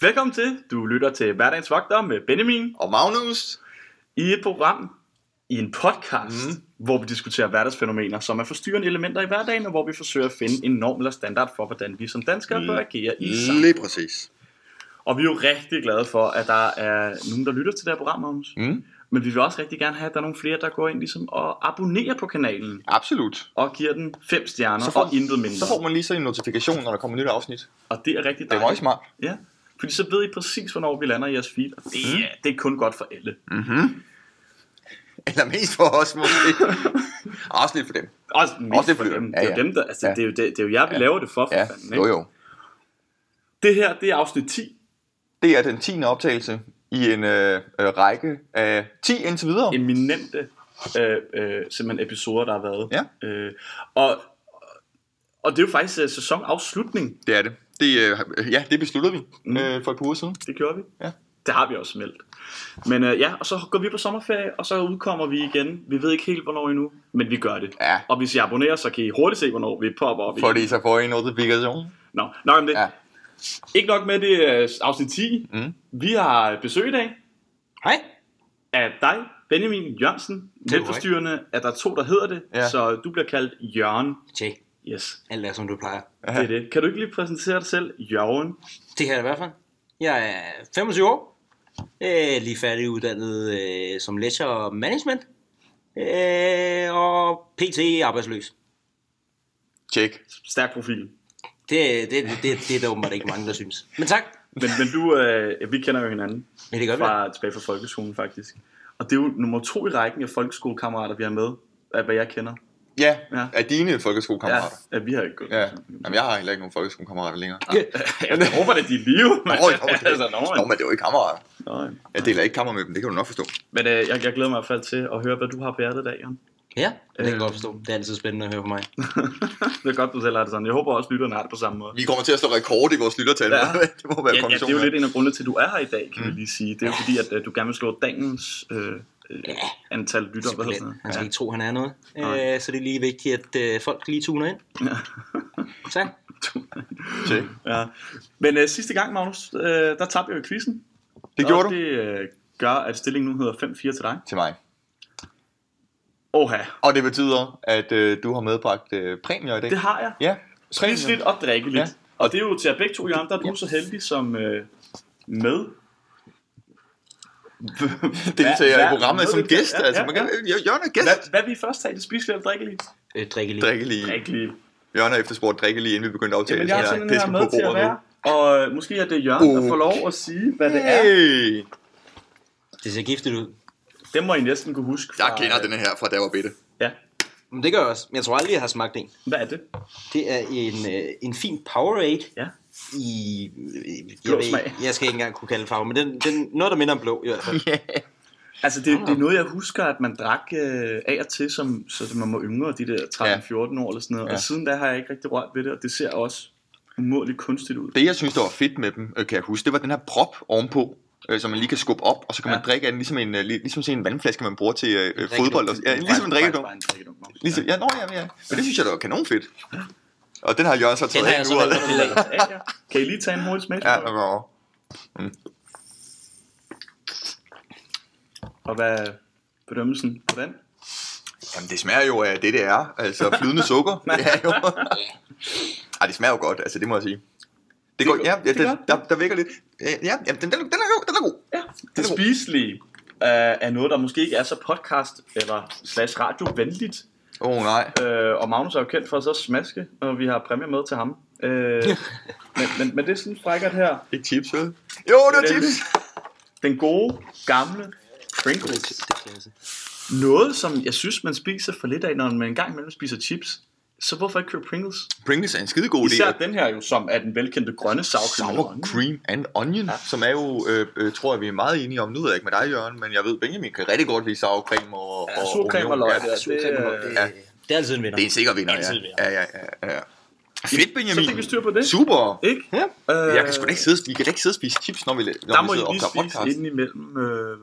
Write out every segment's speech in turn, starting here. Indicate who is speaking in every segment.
Speaker 1: Velkommen til. Du lytter til Hverdagens Vogter med Benjamin
Speaker 2: og Magnus.
Speaker 1: i et program, i en podcast,
Speaker 2: Mhm.
Speaker 1: mm. hvor vi diskuterer hverdagsfænomener, som er forstyrrende elementer i hverdagen, og hvor vi forsøger at finde en norm eller standard for, hvordan vi som danskere mm. bør agere i samfundet.
Speaker 2: Lige præcis.
Speaker 1: Og vi er jo rigtig glade for, at der er nogen, der lytter til det her program, Magnus.
Speaker 2: Mm.
Speaker 1: Men vi vil også rigtig gerne have, at der er nogle flere, der går ind ligesom, og abonnerer på kanalen
Speaker 2: Absolut.
Speaker 1: og giver den fem stjerner og intet mindre.
Speaker 2: så får man lige sådan en notifikation, når der kommer et nyt afsnit.
Speaker 1: Og det er rigtig
Speaker 2: Det er meget
Speaker 1: dejligt.
Speaker 2: smart.
Speaker 1: Ja, fordi så ved I præcis, hvornår vi lander i jeres feed, og det, mm. det er kun godt for alle.
Speaker 2: Mm-hmm. Eller mest for os måske. afsnit for dem.
Speaker 1: Også, mest
Speaker 2: Også det
Speaker 1: for
Speaker 2: for
Speaker 1: dem.
Speaker 2: dem.
Speaker 1: Det er
Speaker 2: Ja,
Speaker 1: jo
Speaker 2: ja.
Speaker 1: dem, der, altså,
Speaker 2: Ja.
Speaker 1: det, er jo, det, det er jo jer, vi laver det for, for
Speaker 2: Ja,
Speaker 1: fanden,
Speaker 2: jo
Speaker 1: ikke?
Speaker 2: jo.
Speaker 1: Det her, det er afsnit 10.
Speaker 2: Det er den 10. optagelse i en øh, øh, række af 10 indtil videre.
Speaker 1: Eminente øh, øh, simpelthen episoder, der har været.
Speaker 2: Ja.
Speaker 1: Øh, og, og det er jo faktisk øh, sæsonafslutning.
Speaker 2: Det er det. det øh, ja, det besluttede vi
Speaker 1: Mm.
Speaker 2: øh, for et par uger siden.
Speaker 1: Det gjorde vi.
Speaker 2: Ja.
Speaker 1: Det har vi også meldt. Men øh, ja, og så går vi på sommerferie, og så udkommer vi igen. Vi ved ikke helt, hvornår endnu, men vi gør det.
Speaker 2: Ja,
Speaker 1: Og hvis I abonnerer, så kan I hurtigt se, hvornår vi popper op. igen.
Speaker 2: fordi så får I en notifikation.
Speaker 1: Nå, nok om det.
Speaker 2: Ja.
Speaker 1: Ikke nok med det øh, afsnit 10.
Speaker 2: Mm.
Speaker 1: Vi har besøg i dag.
Speaker 2: Hej.
Speaker 1: af dig, Benjamin Jørgensen. Lidt
Speaker 3: korrekt.
Speaker 1: forstyrrende, at der er to, der hedder det, ja.
Speaker 2: Ja.
Speaker 1: så du bliver kaldt Jørgen.
Speaker 3: Tjek.
Speaker 1: Yes,
Speaker 3: Alt er, som du plejer.
Speaker 1: det er det. Kan du ikke lige præsentere dig selv, Jørgen?
Speaker 3: Det kan jeg i hvert fald. Jeg er 25 år. Øh, lige færdig uddannet øh, som lecturer og management. Øh, og pt. arbejdsløs.
Speaker 2: Tjek.
Speaker 1: Stærk profil.
Speaker 3: Det, det, det, det er der åbenbart ikke mange, der synes. Men tak.
Speaker 1: Men, men du, øh, vi kender jo hinanden
Speaker 3: Ja, det gør vi.
Speaker 1: fra tilbage fra folkeskolen faktisk. Og det er jo nummer to i rækken af folkeskolekammerater, vi har med, af hvad jeg kender.
Speaker 2: Ja,
Speaker 1: Ja.
Speaker 2: af dine folkeskolekammerater.
Speaker 1: Ja, at vi har ikke gået.
Speaker 2: Ja. ja. Jamen, jeg har heller ikke nogen folkeskolekammerater længere.
Speaker 1: Jeg håber, det er dit liv.
Speaker 2: Nå,
Speaker 1: men-
Speaker 2: jo, det,
Speaker 1: altså, nå,
Speaker 2: nå, men det er jo ikke kammerater.
Speaker 1: nå, ja.
Speaker 2: Jeg deler ikke kammer med dem, det kan du nok forstå.
Speaker 1: Men øh, jeg, jeg glæder mig i hvert fald til at høre, hvad du har på hjertet i dag, Jørgen.
Speaker 3: Ja, det kan jeg godt forstå. Det er altid spændende at høre fra mig.
Speaker 1: øh, det er godt, du selv har det sådan. Jeg håber også, lytterne har det på samme måde.
Speaker 2: Vi kommer til at slå rekord i vores lyttertal.
Speaker 1: Ja.
Speaker 2: Ja. det må
Speaker 1: Ja, ja,
Speaker 2: være
Speaker 1: det er jo
Speaker 2: konklusionen.
Speaker 1: lidt en af grundene til, at du er her i dag, kan mm. vi
Speaker 2: Mm.
Speaker 1: lige sige. Det er jo fordi, at øh, du gerne vil slå dagens øh, øh, antal lytter. Hvad hedder
Speaker 3: Simpelthen.
Speaker 1: sådan
Speaker 3: Man skal
Speaker 1: noget?
Speaker 3: ikke tro, han er noget.
Speaker 1: Nej.
Speaker 3: Øh, så det er lige vigtigt, at øh, folk lige tuner ind. Tak.
Speaker 2: Tjek.
Speaker 1: ja. ja. Men øh, sidste gang, Magnus, øh, der tabte jeg jo i quizzen.
Speaker 2: Det gjorde
Speaker 1: og
Speaker 2: du
Speaker 1: det øh, gør, at stillingen nu hedder 5-4 til dig.
Speaker 2: til mig.
Speaker 1: Oha,
Speaker 2: Og det betyder, at øh, du har medbragt øh, præmier i dag.
Speaker 1: det har jeg.
Speaker 2: Ja,
Speaker 1: Spiseligt og drikkeligt. Ja.
Speaker 2: Ja.
Speaker 1: Og det er jo til jer begge to, Jørgen, der er du så heldig som øh, med.
Speaker 2: Deltager
Speaker 1: Hver-
Speaker 2: i programmet
Speaker 1: hver-
Speaker 2: som
Speaker 1: meddeltager.
Speaker 2: gæst.
Speaker 1: Ja,
Speaker 2: Altså,
Speaker 1: ja,
Speaker 2: man kan,
Speaker 1: ja.
Speaker 2: Jør- Jørgen er
Speaker 1: Hvad,
Speaker 2: gæst.
Speaker 1: hvad vil I først tage det spiseligt og drikkeligt?
Speaker 3: Øh, drikke lige.
Speaker 2: Drikke lige.
Speaker 1: Drikkeligt.
Speaker 2: Jørgen har efterspurgt drikke lige, inden vi begyndte at
Speaker 1: Jamen,
Speaker 2: aftale.
Speaker 1: jeg har sådan en her med til at være. Og øh, måske er det Jørgen, der
Speaker 2: Uh.
Speaker 1: får lov at sige, hvad det er.
Speaker 2: Hey!
Speaker 3: Det ser giftigt ud.
Speaker 1: Den må I næsten kunne huske.
Speaker 2: Jeg
Speaker 1: fra-
Speaker 2: kender den her fra da jeg var bitte.
Speaker 1: Ja.
Speaker 3: Men det gør jeg også. Jeg tror aldrig, jeg har smagt en.
Speaker 1: Hvad er det?
Speaker 3: Det er en, øh, en fin Powerade
Speaker 1: Ja.
Speaker 3: i... i-
Speaker 1: Blå
Speaker 3: jeg, ved,
Speaker 1: smag.
Speaker 3: ikke- jeg skal ikke engang kunne kalde det farve, men den, den, noget, der minder om blå i hvert fald.
Speaker 1: Altså, det, det er noget, jeg husker, at man drak øh, af og til, som, så man var yngre, de der 13-14 år eller sådan noget. Ja.
Speaker 2: Ja.
Speaker 1: Og siden da har jeg ikke rigtig rørt ved det, og det ser også umådeligt kunstigt ud.
Speaker 2: Det, jeg synes, der var fedt med dem, øh, kan jeg huske, det var den her prop ovenpå, øh, som man lige kan skubbe op, og så kan
Speaker 1: Ja.
Speaker 2: man drikke af den, ligesom, en, øh, li- ligesom sådan en vandflaske, man bruger til øh, øh,
Speaker 3: drikkedunk.
Speaker 2: fodbold. Og, ja, ligesom en drikkedunk.
Speaker 1: Bare en drikkedunk. Magnus.
Speaker 2: Ligesom, ja, nå, ja, ja. Men det synes jeg, der var kanon fedt. Og den har Jørgen så
Speaker 3: Den
Speaker 2: taget
Speaker 3: har
Speaker 2: af
Speaker 3: jeg
Speaker 2: nu.
Speaker 3: så valgt at
Speaker 2: og-
Speaker 3: pille af.
Speaker 1: Ja, ja. Kan I lige tage en hurtig smag?
Speaker 2: Ja,
Speaker 1: Ja.
Speaker 2: nå.
Speaker 1: Og hvad er bedømmelsen på den?
Speaker 2: Jamen, det smager jo af det, det er. Altså, flydende sukker. det er jo. Ej, det smager jo godt, altså, det må jeg sige. Det, går,
Speaker 1: gør-
Speaker 2: ja, ja
Speaker 1: det gør
Speaker 2: den, der, der vækker lidt. Ja, Ja, jamen, den, den, den, er god, den er god.
Speaker 1: Ja,
Speaker 2: Den
Speaker 1: det
Speaker 2: er god.
Speaker 1: spiselige øh, er noget, der måske ikke er så podcast- eller slash radiovenligt.
Speaker 2: Åh, oh, nej.
Speaker 1: Øh, og Magnus er jo kendt for at så smaske, når vi har præmier med til ham. Øh, men, men, men det er sådan frækkert her.
Speaker 2: Ikke chips, vel? Jo, det var
Speaker 1: Det er
Speaker 2: chips.
Speaker 1: Den gode, gamle Pringles.
Speaker 3: Det er klasse.
Speaker 1: Noget, som jeg synes, man spiser for lidt af, når man engang imellem spiser chips. Så hvorfor ikke købe Pringles?
Speaker 2: Pringles er en skidegod idé.
Speaker 1: Især den her jo, som er den velkendte grønne sour cream.
Speaker 2: Sour cream and onion, ja. som er jo, øh, øh, tror jeg, vi er meget enige om. Nu ved jeg ikke med dig, Jørgen, men jeg ved, Benjamin kan rigtig godt lide sour cream og,
Speaker 1: Ja,
Speaker 2: og
Speaker 1: surcreme og
Speaker 2: onion.
Speaker 1: løg,
Speaker 2: Ja,
Speaker 1: det er-
Speaker 3: Surcreme og løg, det,
Speaker 2: ja.
Speaker 3: det er altid en vinder.
Speaker 2: det er en sikker vinder,
Speaker 3: Altid
Speaker 2: ja. Ja, ja, ja, ja. Fedt, Benjamin.
Speaker 1: Så fik vi styr på det.
Speaker 2: Super.
Speaker 1: Ikke?
Speaker 3: Ja.
Speaker 1: Øh,
Speaker 2: Jeg kan sgu da ikke sidde, vi kan da ikke sidde og spise chips, når vi, når
Speaker 1: Der
Speaker 2: vi
Speaker 1: må I
Speaker 2: sidder og
Speaker 1: lige
Speaker 2: optager podcast.
Speaker 1: spise indimellem. Øh, øh,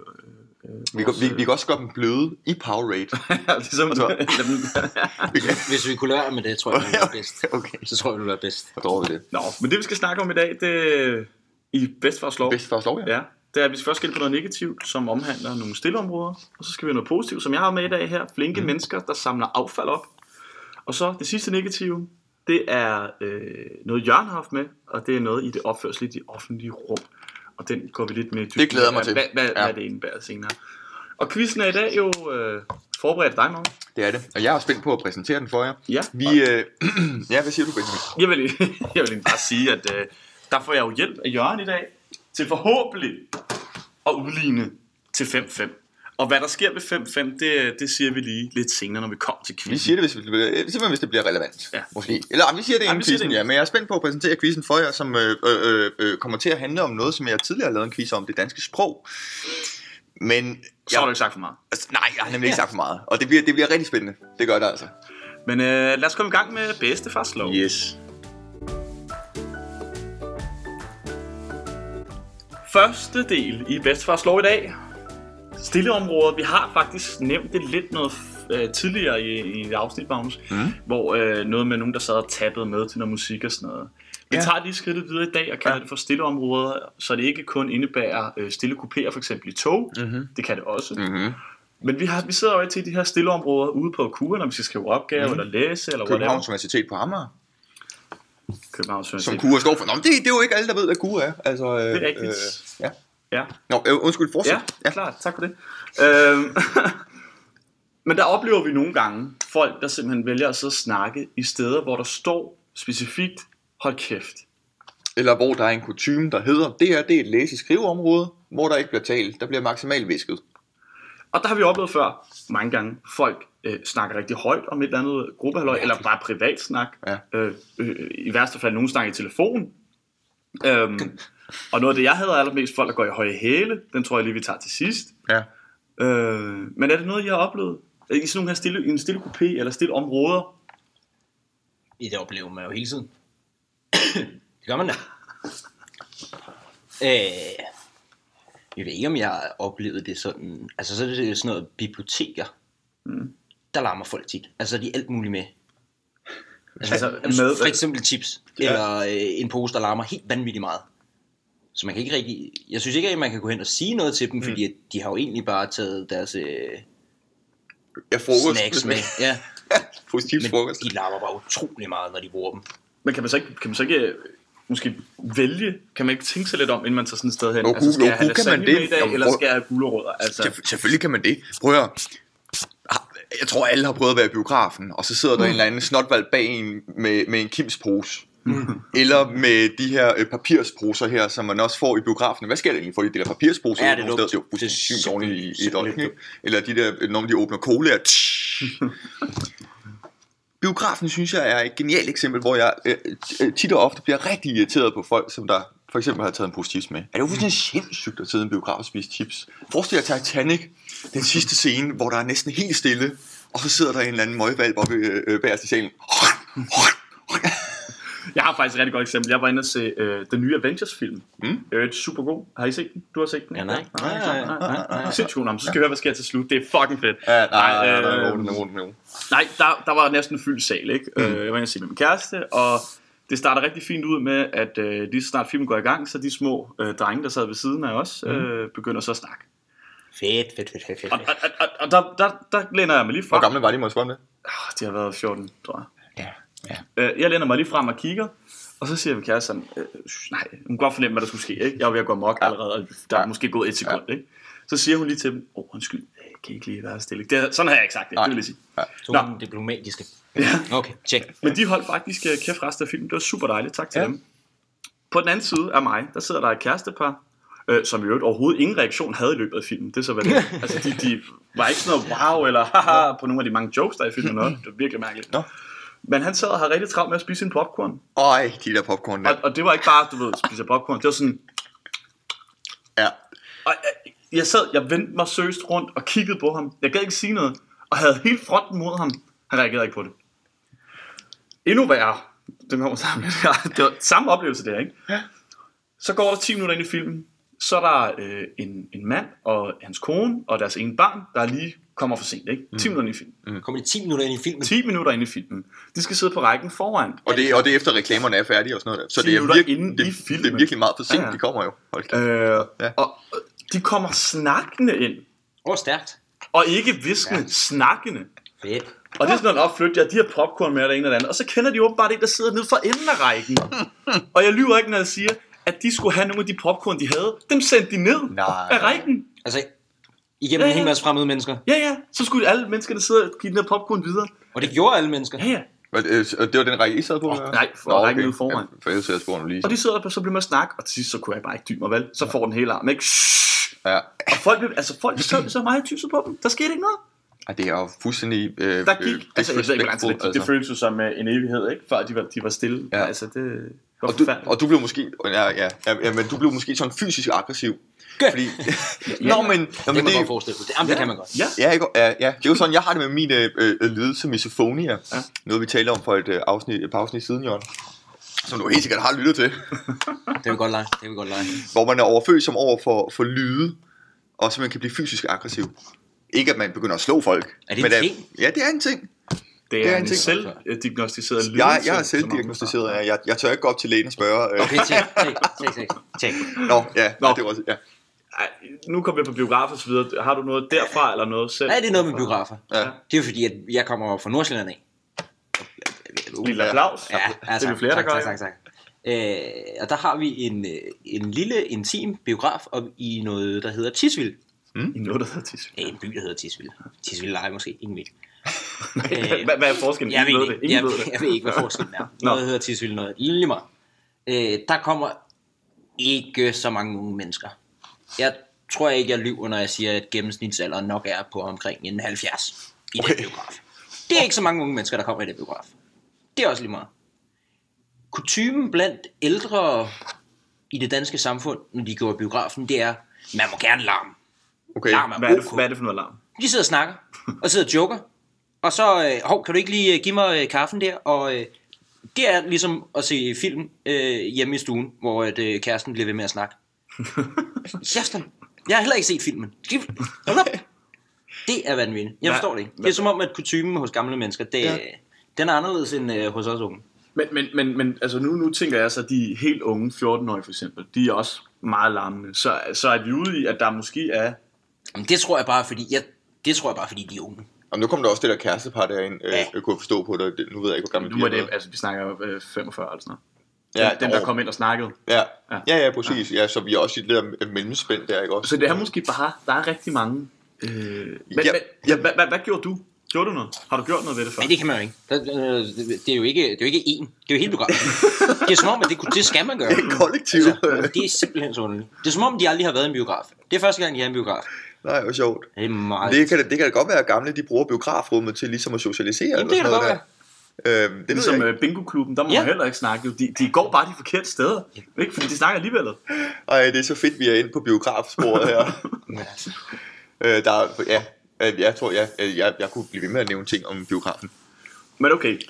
Speaker 2: Vi kan, vi, vi kan også gøre dem bløde i Powerade.
Speaker 1: ligesom,
Speaker 2: Altså-
Speaker 3: Hvis vi kunne lære med det, tror jeg, det ville være bedst.
Speaker 2: okay,
Speaker 3: Så tror jeg, det ville være bedst.
Speaker 2: så tror vi det.
Speaker 1: Nå, men det vi skal snakke om i dag, det I bedstfars lov.
Speaker 2: Bedst for at slå, ja.
Speaker 1: Ja, det er, at vi skal først skille på noget negativt, som omhandler nogle stille områder, og så skal vi have noget positivt, som jeg har med i dag her. Flinke mm. mennesker, der samler affald op. Og så det sidste negative, det er øh, noget, Jørgen har haft med, og det er noget i det opførsel i det offentlige rum. Og den går vi lidt mere i dybden
Speaker 2: glæder jeg
Speaker 1: med,
Speaker 2: mig til.
Speaker 1: Hvad, hvad,
Speaker 2: Ja.
Speaker 1: ja. hvad det indebærer senere. Og quizzen er i dag jo øh, forberedt af dig, Morten.
Speaker 2: Det er det. Og jeg er spændt på at præsentere den for jer.
Speaker 1: Ja.
Speaker 2: Vi, øh, ja, hvad siger du, Benjamin?
Speaker 1: Jeg vil, jeg vil egentlig bare sige, at øh, der får jeg jo hjælp af Jørgen i dag til forhåbentlig at udligne til 5-5. Og hvad der sker ved 5-5, det, det siger vi lige lidt senere, når vi kommer til
Speaker 2: Vi
Speaker 1: quizzen.
Speaker 2: siger det, hvis, vi- øh, simpelthen hvis det bliver relevant,
Speaker 1: Ja.
Speaker 2: måske. Eller ej, vi siger det
Speaker 1: Ej,
Speaker 2: inden
Speaker 1: vi siger det
Speaker 2: quizzen,
Speaker 1: inden.
Speaker 2: ja. Men jeg er spændt på at præsentere quizzen for jer, som øh, øh, øh, kommer til at handle om noget, som jeg tidligere har lavet en quiz om, det danske sprog. Men
Speaker 1: Så har du
Speaker 2: jeg,
Speaker 1: ikke sagt for meget.
Speaker 2: altså, nej, jeg har nemlig ikke sagt for meget. Og det bliver, det bliver rigtig spændende. Det gør det altså.
Speaker 1: Men øh, lad os komme i gang med bedste fastslov.
Speaker 2: Yes.
Speaker 1: Første del i Bedstfars lov i dag. Stille områder. Vi har faktisk nævnt det lidt noget øh, tidligere i, i et afsnit, Magnus, mm.
Speaker 2: Mhm.
Speaker 1: hvor øh, noget med nogen, der sad og tappede med til noget musik og sådan noget. Vi ja.
Speaker 2: Ja.
Speaker 1: tager lige skridtet videre i dag og kalder ja. det for stille områder, så det ikke kun indebærer øh, stille kupéer, for eksempel i tog.
Speaker 2: Mhm.
Speaker 1: Mm-hmm. Det kan det også. Mm.
Speaker 2: Mm-hmm.
Speaker 1: Men vi, har, vi sidder jo altid i de her stille områder ude på kuren, når vi skal skrive opgaver mm. eller læse eller
Speaker 2: Mhm. Københavns
Speaker 1: whatever.
Speaker 2: Universitet på Amager,
Speaker 1: København.
Speaker 2: som Kure står for. Nå, men det, det er jo ikke alle, der ved, hvad Kure er. Altså, øh,
Speaker 1: Det er rigtigt.
Speaker 2: Øh, ja.
Speaker 1: Ja.
Speaker 2: Nå, øh, undskyld, fortsæt.
Speaker 1: Ja, ja. klart. Tak for det. Øhm, men der oplever vi nogle gange folk, der simpelthen vælger at sidde og snakke i steder, hvor der står specifikt, hold kæft.
Speaker 2: Eller hvor der er en kutume, der hedder, det her det er et læse-skriveområde, hvor der ikke bliver talt, der bliver maksimalt visket.
Speaker 1: Og der har vi oplevet før mange gange, folk øh, snakker rigtig højt om et eller andet gruppehalløj, ja, eller bare privat snak.
Speaker 2: Ja.
Speaker 1: Øh, øh, I værste fald nogen snakker i telefon. Øhm, og noget af det, jeg hader allermest, folk, der går i høje hæle, den tror jeg lige, vi tager til sidst.
Speaker 2: Ja.
Speaker 1: Øh, men er det noget, I har oplevet? I sådan nogle her stille, i en stille kupé eller stille områder,
Speaker 3: I det oplever man jo hele tiden. det gør man da. Øh, jeg ved ikke, om jeg oplevede det sådan... Altså, så er det sådan noget biblioteker. Mm. Der larmer folk tit. Altså, de er alt muligt med.
Speaker 1: Altså,
Speaker 3: med for
Speaker 1: med,
Speaker 3: eksempel chips. Ja. Eller øh, en pose, der larmer helt vanvittigt meget. Så man kan ikke rigtig... Jeg synes ikke, at man kan gå hen og sige noget til dem, mm. fordi at de har jo egentlig bare taget deres øh,
Speaker 2: Jeg frokost.
Speaker 3: snacks med. Ja,
Speaker 2: Positiv
Speaker 3: men
Speaker 2: frokost.
Speaker 3: de larmer bare utrolig meget, når de bruger dem.
Speaker 1: men kan man så ikke, kan man så ikke øh, måske vælge? Kan man ikke tænke sig lidt om, inden man tager sådan et sted hen?
Speaker 2: Jo,
Speaker 1: altså, skal
Speaker 2: jo,
Speaker 1: jeg have
Speaker 2: jo, kan man
Speaker 1: lasagne
Speaker 2: det?
Speaker 1: med i dag,
Speaker 2: Jamen,
Speaker 1: eller
Speaker 2: prøv-
Speaker 1: skal jeg have gulerødder? Altså,
Speaker 2: Selvfø- Selvfølgelig kan man det. Prøv at høre. Jeg tror, alle har prøvet at være i biografen, og så sidder der en eller anden snotvalg bag en med, med en kimspose. Eller med de her øh, papirsposer her, som man også får i biografen. Hvad sker der egentlig for de der papirsposer?
Speaker 3: Ja,
Speaker 2: ud
Speaker 3: det er
Speaker 2: nogle
Speaker 3: dumt.
Speaker 2: steder? Det er
Speaker 3: Det
Speaker 2: jo
Speaker 3: er
Speaker 2: sygt
Speaker 3: simpelthen-
Speaker 2: ordentligt i- i et
Speaker 3: simpelthen
Speaker 2: øjeblik. ikke? Eller de der, øh, når de åbner cola. tsh. Biografen, synes jeg, er et genialt eksempel, hvor jeg øh, øh, tit og ofte bliver rigtig irriteret på folk, som der for eksempel har taget en pose chips med. Er det jo fuldstændig sindssygt at sidde i en biograf og spise chips? Forestil jer Titanic, den sidste scene, hvor der er næsten helt stille, og så sidder der en eller anden møgvalp oppe øh, øh, bagerst i salen.
Speaker 1: jeg har faktisk et rigtig godt eksempel. Jeg var inde og se øh, den nye Avengers-film.
Speaker 2: Mm.
Speaker 1: Øh, super god. Har I set den? Du har set den?
Speaker 3: Ja,
Speaker 1: ikke?
Speaker 3: nej.
Speaker 1: nej,
Speaker 3: Nej,
Speaker 1: nej,
Speaker 3: nej,
Speaker 1: nej, nej. Sindssygt god. Nå, men Så skal vi høre, hvad sker til slut. Det er fucking fedt.
Speaker 2: Ja, nej, nej, nej,
Speaker 1: øh,
Speaker 2: nej, nej, nej, nej.
Speaker 1: Nej, der, der var næsten fyldt sal, ikke? Mm. Øh, jeg var inde og se med min kæreste, og det starter rigtig fint ud med, at øh, lige så snart filmen går i gang, så de små øh, drenge, der sad ved siden af os,
Speaker 2: Mm.
Speaker 1: øh, begynder så at snakke.
Speaker 3: Fedt, fedt, fedt, fedt, fedt.
Speaker 1: Og, og, og, og, og der, der, der læner jeg mig lige
Speaker 2: Hvor
Speaker 1: frem.
Speaker 2: gamle var de, må jeg spørge om det?
Speaker 1: Ah, De har været 14, tror jeg.
Speaker 2: Ja, ja.
Speaker 1: Øh, Jeg læner mig lige frem og kigger, og så siger min kæreste sådan, øh, nej, hun kunne godt fornemme, hvad der skulle ske. Ikke? Jeg var ved at gå amok allerede, og der er
Speaker 2: Ja.
Speaker 1: måske gået et sekund. Ikke? Så siger hun lige til dem, åh, oh, undskyld, øh, kan I ikke lige være stille? Det, sådan har jeg ikke sagt det,
Speaker 2: Nej.
Speaker 1: det vil jeg sige.
Speaker 3: Så
Speaker 1: Nå.
Speaker 3: den diplomatiske. Okay, tjek.
Speaker 1: Men de holdt faktisk øh, kæft resten af filmen. Det var super dejligt. Tak til
Speaker 2: Ja.
Speaker 1: ja. dem. På den anden side af mig, der sidder der et kærestepar, øh, som i øvrigt overhovedet ingen reaktion havde i løbet af filmen. Det er så hvad det er. Altså, de, de var ikke sådan noget wow eller haha på nogle af de mange jokes, der er i filmen. Noget. Det var virkelig mærkeligt.
Speaker 2: Nå.
Speaker 1: Men han sad og havde rigtig travlt med at spise sin popcorn.
Speaker 2: Øj, de der popcorn der.
Speaker 1: Og, og det var ikke bare, du ved, spise popcorn. Det var sådan...
Speaker 2: Ja.
Speaker 1: Og jeg, jeg sad, jeg vendte mig søst rundt og kiggede på ham. Jeg gad ikke sige noget. Og havde hele fronten mod ham. Han reagerede ikke på det. Endnu værre. Det kommer sammen med det her. Det var samme oplevelse der, ikke? Så går der 10 minutter ind i filmen. Så er der øh, en, en mand og hans kone og deres ene barn, der lige kommer for sent, ikke? 10 minutter ind i filmen.
Speaker 3: Mm. Kommer de 10 minutter ind i filmen?
Speaker 1: 10 minutter ind i filmen. De skal sidde på rækken foran.
Speaker 2: Og det, og det er efter reklamerne er færdige og sådan noget der. Så
Speaker 1: Ti
Speaker 2: det er,
Speaker 1: minutter
Speaker 2: virke,
Speaker 1: inde
Speaker 2: det,
Speaker 1: i filmen.
Speaker 2: det er virkelig meget for sent,
Speaker 1: Ja, ja.
Speaker 2: de kommer jo. Hold kæft.
Speaker 1: Øh,
Speaker 2: Ja.
Speaker 1: ja. Og øh, de kommer snakkende ind.
Speaker 3: Åh, stærkt.
Speaker 1: Og ikke viskende, ja. snakkende.
Speaker 3: Fedt.
Speaker 1: Og det er sådan noget opflyt, ja, de har popcorn med, og det ene og det andet. Og så kender de åbenbart en, der sidder nede for enden af rækken. Og jeg lyver ikke, når jeg siger, at de skulle have nogle af de popcorn, de havde. Dem sendte de ned
Speaker 2: Nej.
Speaker 1: af rækken.
Speaker 3: Altså, igennem
Speaker 1: Ja,
Speaker 3: en hel
Speaker 1: ja.
Speaker 3: masse fremmede mennesker.
Speaker 1: Ja, ja. Så skulle alle mennesker, der sidder og give den her popcorn videre.
Speaker 3: Og det gjorde alle mennesker.
Speaker 1: Ja, ja.
Speaker 2: Og, øh, så- og det var den række, I sad på? eller?
Speaker 1: nej, for rækken ude foran.
Speaker 2: Ja, for ellers havde jeg spurgt lige.
Speaker 1: Og de sidder og så bliver man snak, og til sidst, så kunne jeg bare ikke dybe mig, vel? Så får den hele arm, ikke? Shhh.
Speaker 2: Ja.
Speaker 1: Og folk, blev- altså folk så, så meget tyset på dem. Der skete ikke noget.
Speaker 2: Ej, det er jo fuldstændig... Øh,
Speaker 1: Der gik,
Speaker 2: øh,
Speaker 1: altså jeg ved ikke, hvor lang tid det gik.
Speaker 2: disrespectful,
Speaker 1: Det føltes jo som øh, en evighed, ikke? Før de var, de var stille.
Speaker 2: Ja.
Speaker 1: Ja. Altså det var
Speaker 2: Og du,
Speaker 1: forfærdeligt.
Speaker 2: og du blev måske, ja, ja, ja, ja, men du blev måske sådan fysisk aggressiv. Fordi, nå, men, nå,
Speaker 3: Det kan
Speaker 2: men
Speaker 3: man godt
Speaker 2: det,
Speaker 3: forestille sig. Det, jamen, det kan man godt.
Speaker 1: Ja.
Speaker 2: ja, ikke, ja, ja, det er jo sådan, jeg har det med min øh, øh, lidelse misofonia. Ja. Noget, vi talte om for et, øh, afsnit, et par afsnit siden, Jørgen. Som du helt sikkert har lyttet til.
Speaker 3: Det vil godt lege. Det vil godt lege.
Speaker 2: hvor man er overfølsom over for, for lyde, og så man kan blive fysisk aggressiv. Ikke at man begynder at slå folk.
Speaker 3: Er det en
Speaker 2: men at-
Speaker 3: ting?
Speaker 2: Ja, det er en ting.
Speaker 1: Det er,
Speaker 2: Det er
Speaker 1: det
Speaker 2: en
Speaker 1: er en
Speaker 2: ting. altså.
Speaker 1: selvdiagnostiseret lidelse.
Speaker 2: Jeg, jeg er
Speaker 1: som mange
Speaker 2: selvdiagnostiseret. Jeg, jeg, jeg tør ikke gå op til lægen og spørge. Øh,
Speaker 3: Okay, tjek, tjek, tjek, tjek, tjek.
Speaker 2: Nå, ja,
Speaker 1: Nå.
Speaker 2: Nå. det var ja.
Speaker 1: har. Ej, nu kommer vi på biograf og så videre. Har du noget derfra eller noget selv?
Speaker 3: Nej, det er noget med biografer.
Speaker 2: Ja.
Speaker 3: Det er jo fordi, at jeg kommer fra Nordsjælland af.
Speaker 1: Lille applaus.
Speaker 3: Ja, altså,
Speaker 1: det er vi flere,
Speaker 3: tak,
Speaker 1: der gør.
Speaker 3: tak, tak, tak. Øh, og der har vi en, øh, en lille intim biograf op i noget, der hedder Tisvild.
Speaker 1: I noget, der hedder tisse.
Speaker 3: Ja, en by, der hedder Tisvild. Tisvild leger måske, ingen ved.
Speaker 1: Hvad- Hvad er forskellen?
Speaker 3: Jeg
Speaker 1: Ingen
Speaker 3: ved,
Speaker 1: ved
Speaker 3: ikke.
Speaker 1: Ingen
Speaker 3: Jeg,
Speaker 1: ved det.
Speaker 3: jeg ved ikke, hvad forskellen er.
Speaker 1: Nå.
Speaker 3: Noget hedder Tisvilde, noget lige meget. Øh, der kommer ikke så mange unge mennesker. Jeg tror ikke, jeg lyver, når jeg siger, at gennemsnitsalderen nok er på omkring en 70 i okay. den biograf. Det er ikke så mange unge mennesker, der kommer i den biograf. Det er også lige meget. Kutumen blandt ældre i det danske samfund, når de går i biografen, det er, man må gerne larme.
Speaker 2: Okay.
Speaker 3: Larm
Speaker 1: Hvad er det,
Speaker 3: ok.
Speaker 1: hvad er det for noget larm?
Speaker 3: De sidder og snakker, og sidder og joker. Og så, øh, hov, kan du ikke lige øh, give mig øh, kaffen der? Og øh, det er ligesom at se film øh, hjemme i stuen, hvor at, øh, kæresten bliver ved med at snakke. Kæresten, jeg har heller ikke set filmen. Giv- Hold op. Det er vanvittigt. Jeg
Speaker 1: Hva-
Speaker 3: forstår det ikke. Det er
Speaker 1: hva-
Speaker 3: som om, at kutumen hos gamle mennesker, det,
Speaker 2: Ja.
Speaker 3: ja. den er anderledes end øh, hos os unge.
Speaker 1: Men, men, men, men altså nu, nu tænker jeg så, at de helt unge, 14-årige for eksempel, de er også meget larmende. Så, så er vi ude i, at der måske er...
Speaker 3: Jamen, det tror jeg bare, fordi jeg, det tror jeg bare, fordi de er unge.
Speaker 2: Og nu kom der også det der kærestepar derind, øh,
Speaker 3: Ja.
Speaker 2: jeg kunne jeg forstå på dig. Det- Nu ved jeg ikke, hvor gammel
Speaker 1: Nu er
Speaker 2: de
Speaker 1: det, altså vi snakker jo, øh, 45 eller sådan noget.
Speaker 2: Ja,
Speaker 1: Dem, der
Speaker 2: og-
Speaker 1: kom ind og snakkede.
Speaker 2: Ja.
Speaker 1: Ja.
Speaker 2: ja, ja, præcis. Ja, så vi er også i det der øh, mellemspænd der, ikke også?
Speaker 1: Så det er måske bare, der er rigtig mange... Øh, men,
Speaker 2: Ja,
Speaker 1: men,
Speaker 2: ja.
Speaker 1: Hvad, hvad, hvad gjorde du? Gjorde du noget? Har du gjort noget ved det før?
Speaker 3: Nej, det kan man jo ikke. Der- øh, Det det er jo ikke, det er jo ikke én. Det er jo hele programmet. Det er som om, at det, kunne- det skal man gøre.
Speaker 2: Kollektiv.
Speaker 3: Men Det er simpelthen så underligt. Det er som om, de aldrig har været i en biograf. Det er første gang, de er i en biograf.
Speaker 2: Nej, hvor sjovt.
Speaker 3: Det er meget...
Speaker 2: Det kan, da- det kan da godt være, at gamle de bruger biografrummet til ligesom at socialisere.
Speaker 3: Jamen, det kan da godt være.
Speaker 2: være. Øhm, det
Speaker 1: Det er
Speaker 2: ved jeg
Speaker 1: ligesom
Speaker 2: ikke.
Speaker 1: øh, bingo-klubben, der må
Speaker 3: Ja.
Speaker 1: ja. man heller ikke snakke. jo. De, de går bare de forkerte steder, ikke? fordi de snakker alligevel.
Speaker 3: øh,
Speaker 2: Ej, det er så fedt, vi er inde på biografsporet her.
Speaker 3: Men altså,
Speaker 2: øh, der, er- ja, øh, jeg tror, ja, øh, jeg, jeg kunne blive ved med at nævne ting om biografen.
Speaker 1: Men okay,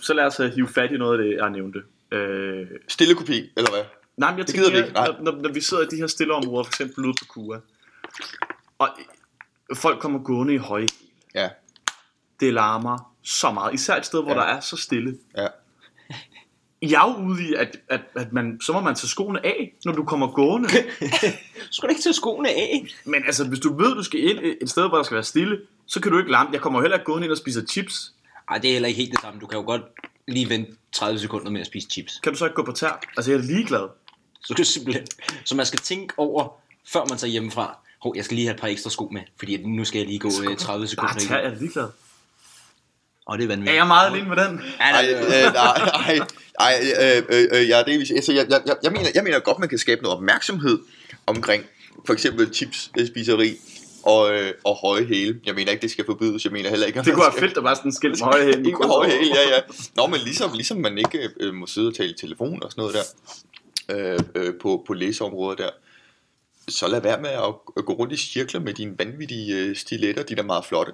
Speaker 1: så lad os øh, hive fat i noget af det, jeg nævnte. Øh,
Speaker 2: Stille kopi, eller hvad?
Speaker 1: nej, men jeg
Speaker 2: Det gider
Speaker 1: tænker,
Speaker 2: vi ikke, nej.
Speaker 1: når, når, når vi sidder i de her stille områder, for eksempel ude på Kua, og øh, folk kommer gående i høj,
Speaker 2: Ja,
Speaker 1: det larmer så meget, især et sted, hvor
Speaker 2: Ja.
Speaker 1: ja. der er så stille.
Speaker 2: ja.
Speaker 1: Jeg er jo ude i, at, at, at man, så må man tage skoene af, når du kommer gående.
Speaker 3: så skal du ikke tage skoene af.
Speaker 1: Men altså, hvis du ved, du skal ind et sted, hvor der skal være stille, så kan du ikke larme. Jeg kommer jo heller ikke gående ind og spiser chips.
Speaker 3: Ej, det er heller ikke helt det samme. Du kan jo godt lige vente 30 sekunder med at spise chips.
Speaker 1: Kan du så ikke gå på tær? Altså, jeg er ligeglad.
Speaker 3: Så du simpelthen... Så man skal tænke over, før man tager hjemmefra. Hov, jeg skal lige have et par ekstra sko med, fordi at nu skal jeg lige gå øh, 30
Speaker 1: Bare
Speaker 3: sekunder.
Speaker 1: tær,
Speaker 3: igen.
Speaker 1: jeg er ligeglad.
Speaker 3: Og det er
Speaker 1: Er
Speaker 3: vanvittigt.
Speaker 1: jeg meget alene med den?
Speaker 3: Ja,
Speaker 2: Ej,
Speaker 3: der-
Speaker 2: øh, nej, ej, ej, øh, øh, øh, jeg er delvis, altså, jeg, jeg, jeg, jeg, mener, jeg mener godt, man kan skabe noget opmærksomhed omkring for eksempel chipsspiseri og, øh, og høje hæle. Jeg mener ikke, det skal forbydes. Jeg mener heller ikke, at
Speaker 1: Det
Speaker 2: man
Speaker 1: kunne være
Speaker 2: skal-
Speaker 1: fedt, der var sådan en skilt med høje hæl.
Speaker 2: Ikke høje hæl, ja, ja. Nå, men ligesom, ligesom man ikke øh, må sidde og tale i telefon og sådan noget der, øh, øh, på, på læseområdet der, så lad være med at, at gå rundt i cirkler med dine vanvittige øh, stiletter, de der er meget flotte.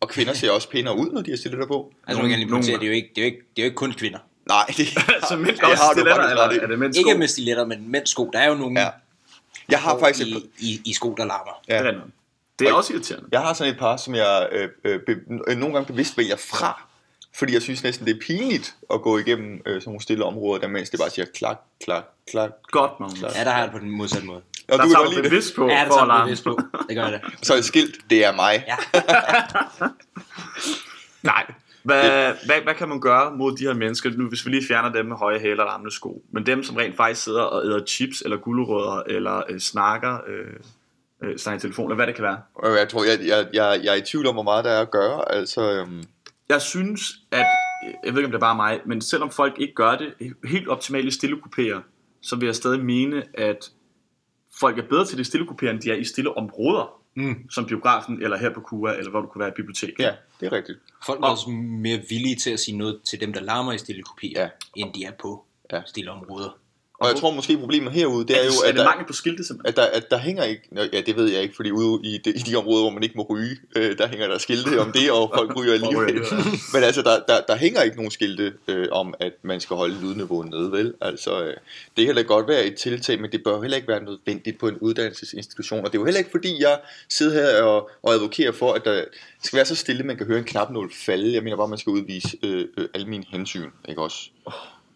Speaker 2: Og kvinder ser også pænere ud, når de har stiletter på.
Speaker 3: Altså, man kan lige
Speaker 1: Nogen-
Speaker 3: pointere, det er jo ikke, det er jo ikke, det er jo ikke kun kvinder.
Speaker 2: Nej, det,
Speaker 1: Altså, mænd
Speaker 2: det
Speaker 1: også
Speaker 2: har du
Speaker 1: stiletter,
Speaker 2: faktisk ret
Speaker 1: eller
Speaker 2: i.
Speaker 1: er det mænd sko?
Speaker 3: Ikke med stiletter, men mænds sko. Der er jo nogle...
Speaker 2: Ja. Jeg har
Speaker 3: går
Speaker 2: faktisk et,
Speaker 3: i, i, i sko, der larmer.
Speaker 1: Ja.
Speaker 2: Ja.
Speaker 1: Det er, rigtigt. det er også irriterende.
Speaker 2: Jeg har sådan et par, som jeg øh, øh, be, øh, nogle gange bevidst vælger fra, fordi jeg synes næsten, det er pinligt at gå igennem øh, sådan nogle stille områder, der mens det bare siger klak, klak, klak.
Speaker 1: Godt, Magnus.
Speaker 2: Klart.
Speaker 1: Ja,
Speaker 3: Ja, der har jeg det på den modsatte måde.
Speaker 2: Og
Speaker 1: der
Speaker 2: du kan
Speaker 1: tager
Speaker 2: godt
Speaker 1: du
Speaker 2: lide det.
Speaker 1: bevidst på
Speaker 3: Ja, det
Speaker 1: for at
Speaker 3: tager jeg
Speaker 1: larme.
Speaker 3: bevidst på. Det gør jeg da.
Speaker 2: Så et skilt, det er mig.
Speaker 3: Ja.
Speaker 1: Nej. Hvad, hvad, hvad kan man gøre mod de her mennesker nu, hvis vi lige fjerner dem med høje hæle og larmende sko? Men dem, som rent faktisk sidder og æder chips eller gulerødder eller øh, snakker, øh, øh, snakker i telefon, eller hvad det kan være.
Speaker 2: Øh, Jeg tror, jeg, jeg, jeg, jeg er i tvivl om, hvor meget der er at gøre. Altså, øhm,
Speaker 1: Jeg synes, at, øh, jeg ved ikke om det er bare mig, men selvom folk ikke gør det helt optimalt i stille kupéer, så vil jeg stadig mene, at folk er bedre til det i stille kupéer, end de er i stille områder,
Speaker 3: Mm.
Speaker 1: som biografen eller her på KUA, eller hvor du kunne være i biblioteket.
Speaker 2: ja, det er rigtigt.
Speaker 3: Folk er også mere villige til at sige noget til dem, der larmer i stille kopier,
Speaker 2: Ja.
Speaker 3: ja. end de er på
Speaker 2: Ja.
Speaker 3: ja. stille områder.
Speaker 2: Og jeg tror måske, problemet herude, det er
Speaker 1: Er,
Speaker 2: jo,
Speaker 1: det, er
Speaker 2: at
Speaker 1: det
Speaker 2: der,
Speaker 1: mangel på skilte simpelthen?
Speaker 2: at der, at der hænger ikke... Nå, ja, det ved jeg ikke, fordi ude i de, i de områder, hvor man ikke må ryge, øh, der hænger der skilte om det, og folk ryger alligevel.
Speaker 1: ryger, ja.
Speaker 2: Men altså, der, der, der hænger ikke nogen skilte øh, om, at man skal holde lydniveauet nede, vel? Altså, øh, det kan da godt være et tiltag, men det bør heller ikke være nødvendigt på en uddannelsesinstitution. Og det er jo heller ikke, fordi jeg sidder her og, og advokerer for, at der skal være så stille, man kan høre en knapnål falde. Jeg mener bare, man skal udvise øh, øh, alle mine hensyn, ikke også?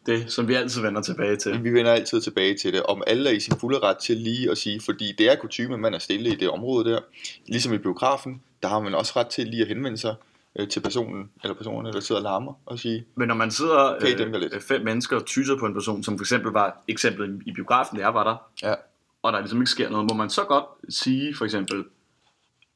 Speaker 1: Det, som vi altid vender tilbage til.
Speaker 2: Vi vender altid tilbage til det, om alle er i sin fulde ret til lige at sige, fordi det er kutume, at man er stille i det område der. Ligesom i biografen, der har man også ret til lige at henvende sig øh, til personen, eller personerne, der sidder og larmer, og sige,
Speaker 1: Men når man sidder
Speaker 2: Okay, dem der
Speaker 1: øh,
Speaker 2: lidt.
Speaker 1: øh, fem mennesker og tyser på en person, som for eksempel var eksemplet i biografen, der var der,
Speaker 2: ja,
Speaker 1: og der ligesom ikke sker noget, må man så godt sige for eksempel,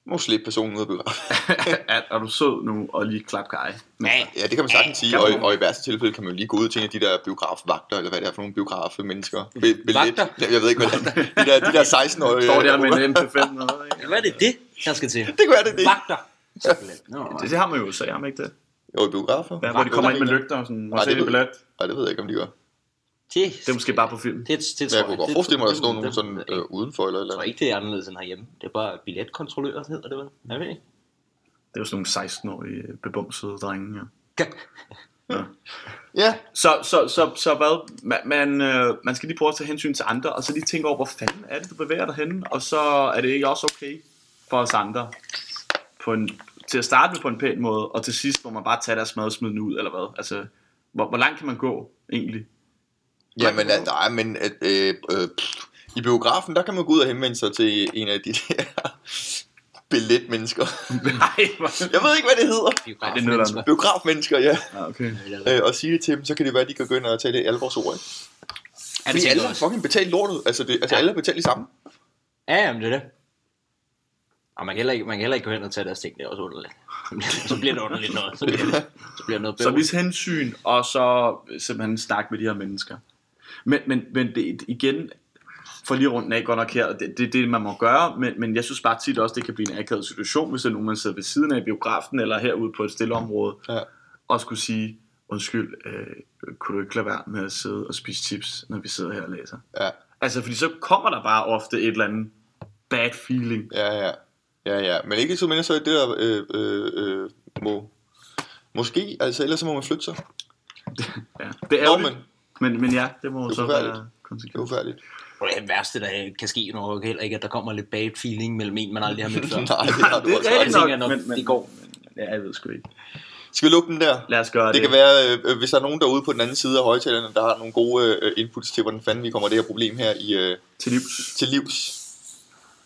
Speaker 2: nu slip personen ud af biografen.
Speaker 1: at er du sød nu, og lige klap kaj. Men
Speaker 3: Ja,
Speaker 2: Ja, det kan man sagtens sige,
Speaker 3: kan
Speaker 2: og, i-
Speaker 3: man.
Speaker 2: og i værste tilfælde kan man jo lige gå ud til en af de der biografvagter, eller hvad det er for nogle biografe mennesker. Be- billet.
Speaker 3: Vagter?
Speaker 2: Ja, Jeg ved ikke, hvad det er. De der, de der 16-årige.
Speaker 1: står der med
Speaker 2: det.
Speaker 1: en MP5 eller noget, ikke?
Speaker 3: Hvad er det, det der skal til?
Speaker 2: Det kunne være det, det.
Speaker 3: Vagter. Simpelthen. Nå,
Speaker 1: Det, det har man jo så, har man ikke det?
Speaker 2: Jo, i biografer.
Speaker 1: Ja, hvor de kommer ind med lygter og sådan, må
Speaker 2: Nej,
Speaker 1: se
Speaker 2: det
Speaker 1: det
Speaker 2: ved-
Speaker 1: billet.
Speaker 2: Nej, det ved jeg ikke, om de gør.
Speaker 3: det,
Speaker 1: Det er måske bare på film.
Speaker 3: Det, det, det
Speaker 2: Men
Speaker 3: tror
Speaker 2: jeg kunne godt
Speaker 3: det-
Speaker 2: forestille mig, at der
Speaker 3: det-
Speaker 2: stod
Speaker 3: det-
Speaker 2: nogen sådan øh, udenfor, eller et eller
Speaker 3: Jeg tror
Speaker 2: andet.
Speaker 3: ikke, det er anderledes end herhjemme. Det er bare billetkontrollører, hedder det vel? Jeg ved ikke.
Speaker 1: Det er jo sådan nogle 16-årige bebumsede drenge, ja.
Speaker 2: Ja,
Speaker 1: Så, så, så, så hvad, man, man, øh, man skal lige prøve at tage hensyn til andre, og så lige tænke over, hvor fanden er det, du bevæger dig henne, og så er det ikke også okay for os andre, på en, til at starte med på en pæn måde, og til sidst må man bare tage deres mad og smide den ud, eller hvad? Altså, hvor, hvor langt kan man gå egentlig?
Speaker 2: Jamen, at, nej, men at, øh, øh, pff, i biografen, der kan man gå ud og henvende sig til en af de der billetmennesker.
Speaker 1: Nej, hvor-
Speaker 2: Jeg ved ikke, hvad det hedder.
Speaker 1: Ej,
Speaker 3: Biograf,
Speaker 1: det er noget andet.
Speaker 2: Biografmennesker, ja.
Speaker 1: Ja, okay.
Speaker 2: Øh, og sige det til dem, så kan det være, at de kan gå ind og tage det alvorsord. Ikke?
Speaker 3: Er det
Speaker 2: Fordi alle
Speaker 3: sikkert
Speaker 2: har
Speaker 3: også?
Speaker 2: fucking betalt lortet. Altså, det, altså
Speaker 3: Ja.
Speaker 2: alle har betalt det samme.
Speaker 3: Ja, jamen det er det. Og man kan, heller ikke, man kan heller ikke gå hen og tage deres ting, det er også underligt. Så bliver- Så bliver det underligt noget. Så bliver det, så bliver det noget
Speaker 1: Så
Speaker 3: bedre.
Speaker 1: vis hensyn, og så øh, simpelthen snakke med de her mennesker. Men, men, men det, igen, for lige rundt af godt nok her, det er det, er det, man må gøre, men, men jeg synes bare tit også, det kan blive en akavet situation, hvis der er nogen, man sidder ved siden af i biografen, eller herude på et stille område,
Speaker 2: Ja.
Speaker 1: og skulle sige, undskyld, øh, kunne du ikke lade være med at sidde og spise chips, når vi sidder her og læser?
Speaker 2: Ja,
Speaker 1: Altså, fordi så kommer der bare ofte et eller andet bad feeling.
Speaker 2: ja, ja. Ja, ja. Men ikke så mindre så er det der øh, øh, øh, må... Måske, altså ellers så må man flytte sig.
Speaker 1: Ja. Det er
Speaker 2: Nå,
Speaker 1: ærgerligt, men, men ja, det må
Speaker 2: er
Speaker 1: jo så
Speaker 2: forfærdeligt.
Speaker 1: være
Speaker 2: Det er
Speaker 1: konsekvens.
Speaker 2: ufærdigt.
Speaker 3: Det værste, der øh, kan ske nu, er heller ikke, at der kommer lidt bad feeling mellem en, man aldrig har mødt før.
Speaker 2: Nej, det har du
Speaker 1: Det er
Speaker 2: også
Speaker 1: rigtigt
Speaker 2: ret i.
Speaker 3: Jeg tænker,
Speaker 1: nok,
Speaker 3: når
Speaker 1: men- men-
Speaker 3: det går.
Speaker 1: Ja, jeg ved sgu ikke.
Speaker 2: Skal vi lukke den der?
Speaker 1: Lad os gøre det.
Speaker 2: Det kan være, øh, hvis der er nogen derude på den anden side af højtalerne, der har nogle gode øh, inputs til, hvordan fanden vi kommer det her problem her i, øh,
Speaker 1: Til livs.
Speaker 2: til livs.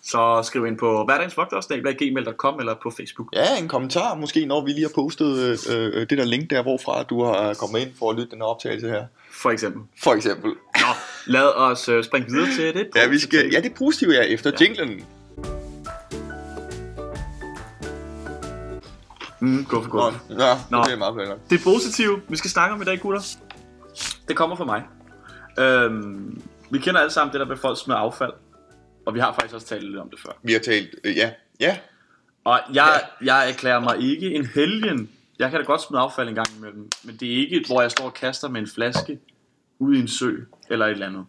Speaker 1: så skriv ind på hverdagsvogtersnabla.gmail.com eller på Facebook.
Speaker 2: Ja, en kommentar måske, når vi lige har postet øh, øh, det der link der, hvorfra du har kommet ind for at lytte den her optagelse her.
Speaker 1: For eksempel.
Speaker 2: For eksempel.
Speaker 1: Nå, lad os øh, springe videre til det.
Speaker 2: Ja, vi skal, ja det er positivt, ja, efter ja. jinglen.
Speaker 1: Mm, gå for
Speaker 2: Nå,
Speaker 1: gå.
Speaker 2: ja,
Speaker 1: Nå.
Speaker 2: det er meget planlagt.
Speaker 1: Det positive, vi skal snakke om i dag, gutter. Det kommer fra mig. Øhm, vi kender alle sammen det der med folk smider affald. Og vi har faktisk også talt lidt om det før.
Speaker 2: Vi har talt, øh, ja, ja,
Speaker 1: Og jeg, jeg erklærer mig ikke en helgen. Jeg kan da godt smide affald en gang imellem. Men det er ikke, hvor jeg står og kaster med en flaske ud i en sø eller et eller andet.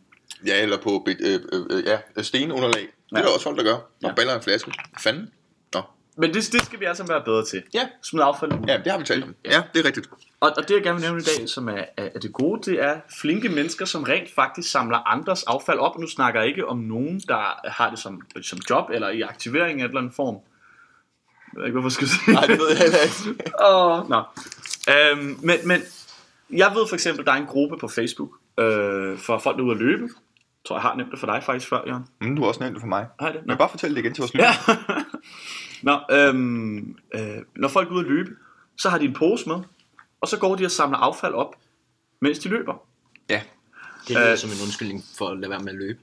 Speaker 2: ja, eller på øh, øh, øh, ja, stenunderlag. Det er
Speaker 1: Ja.
Speaker 2: der også folk, der gør. Når
Speaker 1: Ja.
Speaker 2: baller en flaske. Fanden. Nå,
Speaker 1: Men det, det skal vi altså være bedre til.
Speaker 2: Ja.
Speaker 1: Smid affald ud.
Speaker 2: Ja, det har vi talt om. Ja, det er rigtigt.
Speaker 1: Og, og det jeg gerne vil nævne i dag, som er, er er det gode, det er flinke mennesker, som rent faktisk samler andres affald op. Nu snakker jeg ikke om nogen, der har det som, som job eller i aktivering af en eller anden form. Jeg ved ikke, hvorfor jeg skulle sige
Speaker 2: Nej, det ved jeg heller ikke.
Speaker 1: Åh, nå. Øhm, men, men jeg ved for eksempel, der er en gruppe på Facebook øh, for folk, der er ude at løbe. Jeg tror, jeg har nævnt det for dig faktisk før, Jørgen.
Speaker 2: Mm, du har også nævnt det for mig.
Speaker 1: Har jeg det? Nå.
Speaker 2: Men bare fortæl det igen til vores lytter.
Speaker 1: Ja. Nå, øhm, øh, når folk er ude at løbe, så har de en pose med, og så går de og samler affald op, mens de løber.
Speaker 2: ja.
Speaker 3: Det lyder
Speaker 1: Øh.
Speaker 3: som en undskyldning for at lade være med at løbe.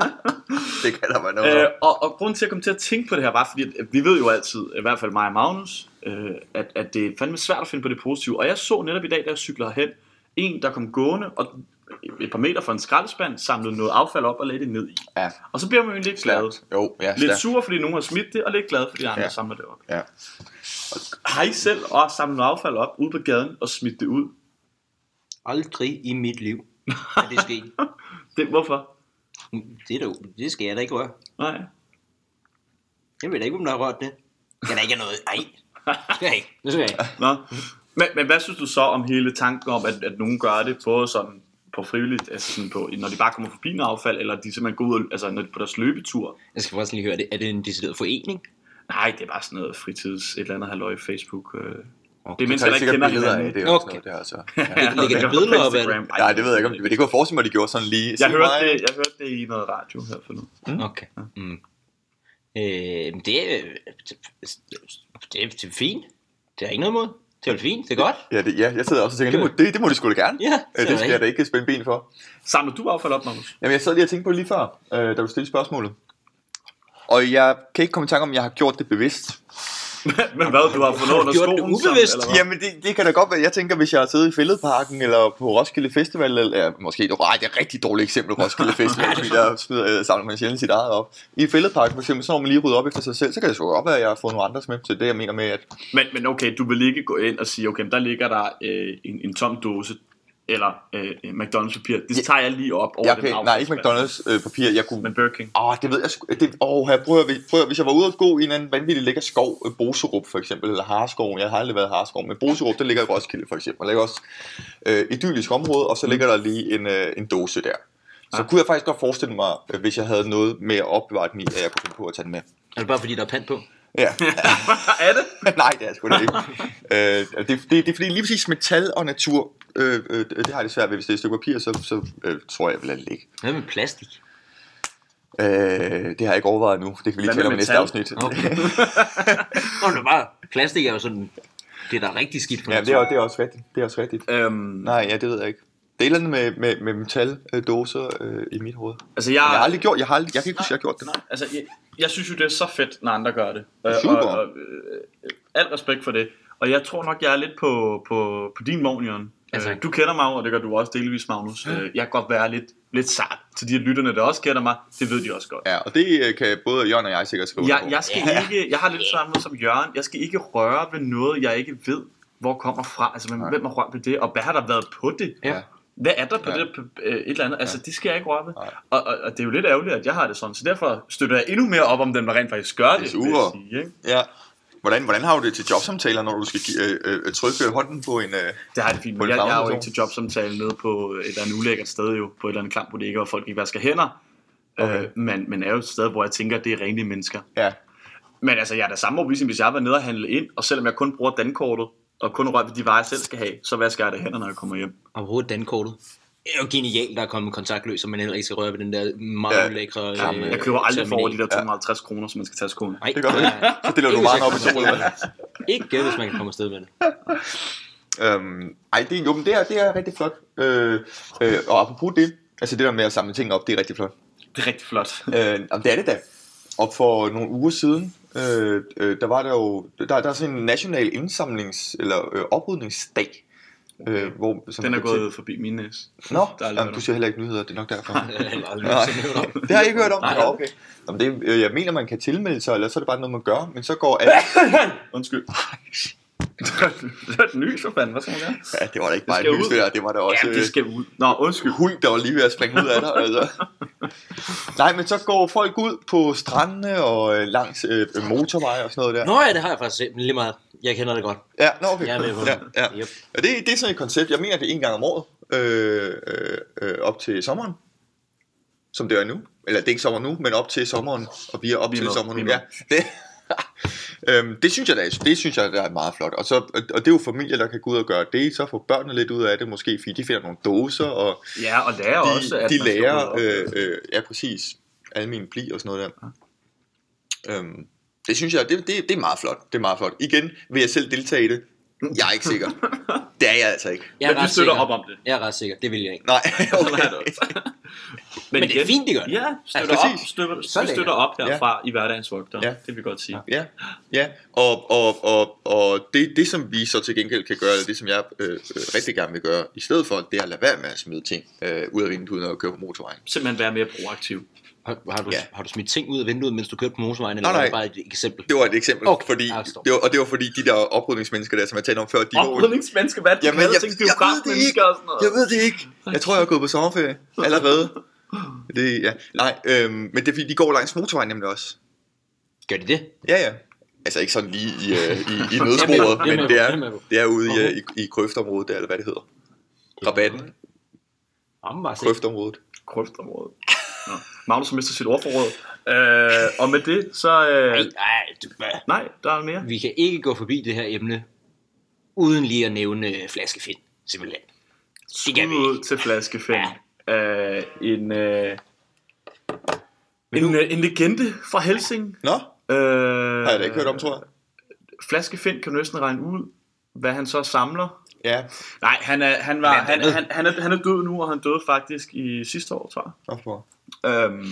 Speaker 2: det kan der være noget
Speaker 1: Øh,
Speaker 2: om.
Speaker 1: og, og grunden til, at jeg kom til at tænke på det her, var, fordi at, vi ved jo altid, i hvert fald mig og Magnus, øh, at, at det er fandme svært at finde på det positive. Og jeg så netop i dag, da jeg cyklede hen, en, der kom gående, og et par meter fra en skraldespand, samlede noget affald op og lagde det ned i.
Speaker 2: Ja,
Speaker 1: Og så bliver man jo lidt glad.
Speaker 2: stærkt. Jo, ja,
Speaker 1: Lidt
Speaker 2: stærkt.
Speaker 1: sur, fordi nogen har smidt det, og lidt glad, fordi andre
Speaker 2: Ja.
Speaker 1: ja. samler det op.
Speaker 2: Ja.
Speaker 1: Har I selv også samlet noget affald op ude på gaden og smidt det ud?
Speaker 3: Aldrig i mit liv er det sket.
Speaker 1: Det, hvorfor?
Speaker 3: Det, er da, det skal jeg da ikke røre.
Speaker 1: Nej.
Speaker 3: Jeg ved da ikke, om der har rørt det. Det kan da ikke have noget. Ej, det skal jeg ikke. Det skal jeg ikke.
Speaker 1: Nå. Men, men hvad synes du så om hele tanken om, at, at nogen gør det både sådan på frivilligt, altså sådan på, når de bare kommer forbi noget affald, eller de simpelthen går ud, og- altså når de er på deres løbetur?
Speaker 3: Jeg skal faktisk lige høre det. Er det en decideret forening?
Speaker 1: Nej, det er bare sådan noget fritids, et eller andet halløj, Facebook. Øh.
Speaker 2: Det
Speaker 1: er mindst, at
Speaker 2: tager
Speaker 1: jeg
Speaker 2: sikkert
Speaker 1: kender
Speaker 2: billeder af
Speaker 1: hinanden.
Speaker 2: det. og sådan
Speaker 3: Okay.
Speaker 2: noget der, altså.
Speaker 1: Ja,
Speaker 3: ligger de billeder op af det?
Speaker 1: Ej,
Speaker 2: Nej, det ved jeg ikke, om de Det kunne jeg forestille mig, at de gjorde sådan lige.
Speaker 1: Jeg
Speaker 2: Se
Speaker 1: hørte,
Speaker 2: mig.
Speaker 1: det, jeg hørte det i noget radio her for nu.
Speaker 3: Okay. Mm. Øh, men det, er- det, er- det er fint. Det er ikke noget mod. Det er vel fint. Det er godt.
Speaker 2: Ja, det, ja, jeg sidder også og tænker, det må, det, det må de sgu da gerne.
Speaker 3: Ja,
Speaker 2: Øh, det
Speaker 3: er
Speaker 2: skal jeg da ikke spænde ben for.
Speaker 1: Samler du affald op, Magnus?
Speaker 2: Jamen, jeg sad lige og tænkte på det lige før, øh, da du stillede spørgsmålet. Og jeg kan ikke komme i tanke om, at jeg har gjort det bevidst.
Speaker 1: men hvad, du har fået noget under
Speaker 3: Gjort det
Speaker 1: skoen? sammen,
Speaker 3: ubevidst.
Speaker 1: eller
Speaker 2: Eller
Speaker 1: hvad?
Speaker 2: Jamen, det, det, kan da godt være. Jeg tænker, hvis jeg har siddet i Fælledparken eller på Roskilde Festival, eller ja, måske, nej, det er et rigtig dårligt eksempel, Roskilde Festival, fordi der smider, øh, samler man sjældent sit eget op. I Fælledparken for eksempel, så når man lige rydder op efter sig selv, så kan det sgu godt være, at jeg har fået nogle andres med. Så det, er det, jeg mener med, at
Speaker 1: Men, men okay, du vil ikke gå ind og sige, okay, men der ligger der øh, en, en tom dåse, eller øh, en McDonald's-papir. Det tager jeg lige op over
Speaker 2: jeg
Speaker 1: den
Speaker 2: kan, nej, ikke
Speaker 1: affaldsmand.
Speaker 2: McDonald's øh, papir, jeg kunne
Speaker 1: Men Burger King.
Speaker 2: Åh, oh, det ved jeg sgu. Det, oh, her, prøv, at, høre, prøv at, høre, hvis jeg var ude at gå i en eller anden vanvittig lækker skov, øh, Boserup for eksempel, eller Harskov, jeg har aldrig været i Harskov, men Boserup, der ligger i Roskilde for eksempel, der ligger også øh, idyllisk område, og så ligger der lige en, øh, en dose der. Så
Speaker 1: Mm. Ah.
Speaker 2: kunne jeg faktisk godt forestille mig, øh, hvis jeg havde noget med at opbevare den i, at jeg kunne finde på at tage den med.
Speaker 3: Er det bare fordi, der er pant på?
Speaker 2: Ja,
Speaker 1: er det?
Speaker 2: nej, det er sgu da ikke. øh, det, det, det, er fordi lige præcis metal og natur, øh, øh, det har det svært ved. Hvis det er et stykke papir, så, så øh, tror jeg, jeg vil lade det ligge.
Speaker 3: Hvad med plastik?
Speaker 2: Øh, det har jeg ikke overvejet nu. Det kan vi lige
Speaker 1: Hvad med
Speaker 2: tale om i næste
Speaker 1: metal?
Speaker 2: afsnit.
Speaker 3: Nå, men det er bare, plastik er jo sådan, det er da rigtig skidt for
Speaker 2: Ja, det
Speaker 3: naturen.
Speaker 2: er, det er også rigtigt. Det er også rigtigt.
Speaker 1: Øhm,
Speaker 2: Nej, ja, det ved jeg ikke. Det er et eller andet med, med, med metaldåser øh, i mit hoved.
Speaker 1: altså,
Speaker 2: Jeg har
Speaker 1: jeg,
Speaker 2: aldrig gjort, jeg har aldrig, jeg kan ikke huske, jeg har gjort det.
Speaker 1: nej, altså, jeg, jeg synes jo, det er så fedt, når andre gør det. Øh,
Speaker 2: super.
Speaker 1: Og, og, øh, alt respekt for det. Og jeg tror nok, jeg er lidt på, på, på din morgen, Jørgen.
Speaker 3: Altså-
Speaker 1: Altså, du kender mig, og det gør du også delvis, Magnus. Øh, Jeg kan godt være lidt, lidt sart. Så de lytterne, der også kender mig, det ved de også godt.
Speaker 2: Ja, og det øh, kan både Jørgen og jeg sikkert skrive
Speaker 1: Jeg,
Speaker 2: under på.
Speaker 1: jeg, skal ikke, jeg har lidt samme som Jørgen. Jeg skal ikke røre ved noget, jeg ikke ved, hvor kommer fra. Altså, men,
Speaker 2: Nej.
Speaker 1: hvem har rørt ved det, og hvad har der været på det?
Speaker 3: Ja.
Speaker 1: Hvad er der på
Speaker 2: Ja.
Speaker 1: ja. det p- øh, et eller andet? Altså, det skal jeg ikke røre ved.
Speaker 2: Nej.
Speaker 1: Og, og, og det er jo lidt ærgerligt, at jeg har det sådan, så derfor støtter jeg endnu mere op om dem, der rent faktisk gør det.
Speaker 2: Sure.
Speaker 1: vil jeg sige, ikke?
Speaker 2: ja. Hvordan, hvordan har du det til jobsamtaler, når du skal give, øh, øh, trykke hånden på en... Øh...
Speaker 1: Det har jeg det fint
Speaker 2: På
Speaker 1: med.
Speaker 2: en
Speaker 1: Jeg, jeg er jo
Speaker 2: daginstitution.
Speaker 1: ikke til jobsamtale nede på et eller andet ulækkert sted, jo, på et eller andet klam bodega, hvor folk ikke vasker hænder.
Speaker 2: Okay.
Speaker 1: Okay. Øh, men, men er jo et sted, hvor jeg tænker, at det er rene mennesker.
Speaker 2: Ja,
Speaker 1: Men altså, jeg er da samme overbevisning, hvis jeg var nede og handle ind, og selvom jeg kun bruger dankortet, og kun rører ved de varer, jeg selv skal have, så vasker jeg det hænder, når jeg kommer hjem.
Speaker 3: Overhovedet dankortet. Det er jo genialt, der er kommet kontaktløs, og man heller ikke skal røre ved den der meget
Speaker 2: Ja.
Speaker 3: ja. lækre...
Speaker 1: Ja,
Speaker 3: øh,
Speaker 1: jeg køber aldrig for over de
Speaker 3: terminal.
Speaker 1: der 250 ja. kroner, som man skal tage af skoene.
Speaker 3: Nej,
Speaker 2: det gør du ikke. Så deler du
Speaker 3: Ikke, hvis
Speaker 2: meget
Speaker 3: jeg
Speaker 2: op i to.
Speaker 3: kommer afsted med det. Ikke hvis man kan komme afsted med det.
Speaker 2: Øhm, ej, det er, jo, men det er, det er rigtig flot. Øh, øh, og apropos det, altså det der med at samle ting op, det er rigtig flot.
Speaker 1: Det er rigtig flot.
Speaker 2: Øh, jamen, det er det da. Og for nogle uger siden, øh, øh, der var der jo der, der er sådan en national indsamlings- eller øh, oprydningsdag. Øh, hvor, som
Speaker 1: Den er
Speaker 2: man kan
Speaker 1: gået forbi min næse.
Speaker 2: til- Nå,
Speaker 1: der er lidt
Speaker 2: jamen,
Speaker 1: af
Speaker 2: du
Speaker 1: det.
Speaker 2: ser heller ikke nyheder, det er nok derfor.
Speaker 3: Eller aldrig
Speaker 2: Nej,
Speaker 3: nogensinde hørt om.
Speaker 2: det har jeg ikke hørt om.
Speaker 3: Nej.
Speaker 2: Nå, okay. Jamen, det, er- øh, jeg mener, man kan tilmelde sig, eller så er det bare noget, man gør, men så går alle...
Speaker 1: Undskyld. det er et nys, for fanden. Hvad skal man gøre?
Speaker 2: Ja, det var da ikke bare
Speaker 1: skal
Speaker 2: et lys,
Speaker 1: ud.
Speaker 2: det der. Det var da også øh,
Speaker 1: Jamen,
Speaker 2: ja,
Speaker 1: det skal ud. Nå, undskyld.
Speaker 2: hund, der var lige ved at springe ud af dig. Altså. Nej, men så går folk ud på strandene og øh, langs øh, motorveje og sådan noget der.
Speaker 3: Nå ja, det har jeg faktisk set, men lige meget. Jeg kender det godt.
Speaker 2: Ja, nå, okay.
Speaker 3: Jeg er med på
Speaker 2: ja,
Speaker 3: den.
Speaker 2: ja.
Speaker 3: Yep.
Speaker 2: Ja, det, det er sådan et koncept. Jeg mener, det er en gang om året. Øh, øh, øh, op til sommeren. Som det er nu. Eller det er ikke sommer nu, men op til sommeren. Og vi er op
Speaker 1: Vi er
Speaker 2: til
Speaker 1: med,
Speaker 2: sommeren
Speaker 1: vi er
Speaker 2: nu. Ja, det, øhm, det, synes jeg, der er, det synes jeg, der er meget flot. Og, så, og det er jo familier, der kan gå ud og gøre det. Så får børnene lidt ud af det måske, fordi de finder nogle doser. Og
Speaker 1: Ja, og det er
Speaker 2: de,
Speaker 1: også, at
Speaker 2: de
Speaker 1: man skal
Speaker 2: lærer,
Speaker 1: ud og-
Speaker 2: øh, øh, ja præcis, almen bli og sådan noget der. Øhm, det synes jeg, det, det, det er meget flot. Det er meget flot. Igen, vil jeg selv deltage i det? Jeg er ikke sikker. det er jeg altså ikke.
Speaker 3: Jeg er
Speaker 1: Men vi
Speaker 3: ret
Speaker 1: støtter
Speaker 3: sikker.
Speaker 1: op om det.
Speaker 3: Jeg er ret sikker, det vil jeg ikke.
Speaker 2: Nej, okay.
Speaker 1: Nej, det er også.
Speaker 3: Men det er fint, de gør det.
Speaker 1: Ja, støtter
Speaker 2: Altså,
Speaker 1: op,
Speaker 2: præcis.
Speaker 1: støtter,
Speaker 3: Så
Speaker 1: så vi
Speaker 3: lækkert.
Speaker 1: støtter op
Speaker 2: Ja.
Speaker 1: herfra ja. i hverdagens vogter.
Speaker 2: Ja.
Speaker 1: Ja. Det vil vi godt sige. Ja.
Speaker 2: Ja, ja. Og, og, og, og det, det, som vi så til gengæld kan gøre, eller det, som jeg øh, øh, rigtig gerne vil gøre, i stedet for, det er at lade være med at smide ting øh, ud af vinduet, når jeg kører på motorvejen.
Speaker 1: Simpelthen være mere proaktiv.
Speaker 3: Har, har, du,
Speaker 2: Ja.
Speaker 3: har du smidt ting ud af vinduet, mens du kørte på motorvejen? Eller
Speaker 2: Nej,
Speaker 3: var
Speaker 2: nej.
Speaker 3: det bare et eksempel?
Speaker 2: Det var et eksempel,
Speaker 3: Okay,
Speaker 2: fordi,
Speaker 3: jeg forstår.
Speaker 2: det var, og det var fordi de der oprydningsmennesker der, som jeg talte om før, de var jo-
Speaker 1: Oprydningsmenneske, hvad? Du
Speaker 2: Jamen,
Speaker 1: kalder
Speaker 2: jeg-
Speaker 1: ting
Speaker 2: jeg ved det
Speaker 1: biografmennesker og sådan noget.
Speaker 2: Jeg ved det ikke. Jeg tror, jeg er gået på sommerferie allerede. Det, ja. Nej, øhm, men det er fordi, de går langs motorvejen nemlig også.
Speaker 3: Gør de det?
Speaker 2: Ja, ja. Altså ikke sådan lige i, øh, i, i
Speaker 3: Det er med
Speaker 2: nødsporet,
Speaker 3: på, det er med
Speaker 2: men
Speaker 3: på,
Speaker 2: det
Speaker 3: det er med
Speaker 2: er,
Speaker 3: på.
Speaker 2: det er ude i, øh, i, i krøftområdet, der, eller hvad det hedder. Rabatten,
Speaker 3: Jamen, bare se.
Speaker 2: krøftområdet.
Speaker 1: Krøftområdet. Nå. Magnus har mistet sit ordforråd. Øh, og med det, så... Øh,
Speaker 3: Ej, ej, du- hvad?
Speaker 1: nej, der er mere.
Speaker 3: Vi kan ikke gå forbi det her emne, uden lige at nævne øh, flaskefind, simpelthen. Det kan vi
Speaker 1: Skud ud til flaskefind. Ja. Øh, en, øh, en, øh, en legende fra Helsing.
Speaker 2: Nå,
Speaker 1: Øh,
Speaker 2: har jeg da ikke hørt om, tror jeg.
Speaker 1: Flaskefind kan du næsten regne ud, hvad han så samler.
Speaker 2: Ja,
Speaker 1: Nej, han er, han, var,
Speaker 3: Men han
Speaker 1: han,
Speaker 3: er
Speaker 1: han, han, er, han er død nu, og han døde faktisk i sidste år, tror jeg.
Speaker 2: Nå, for-
Speaker 1: Øhm,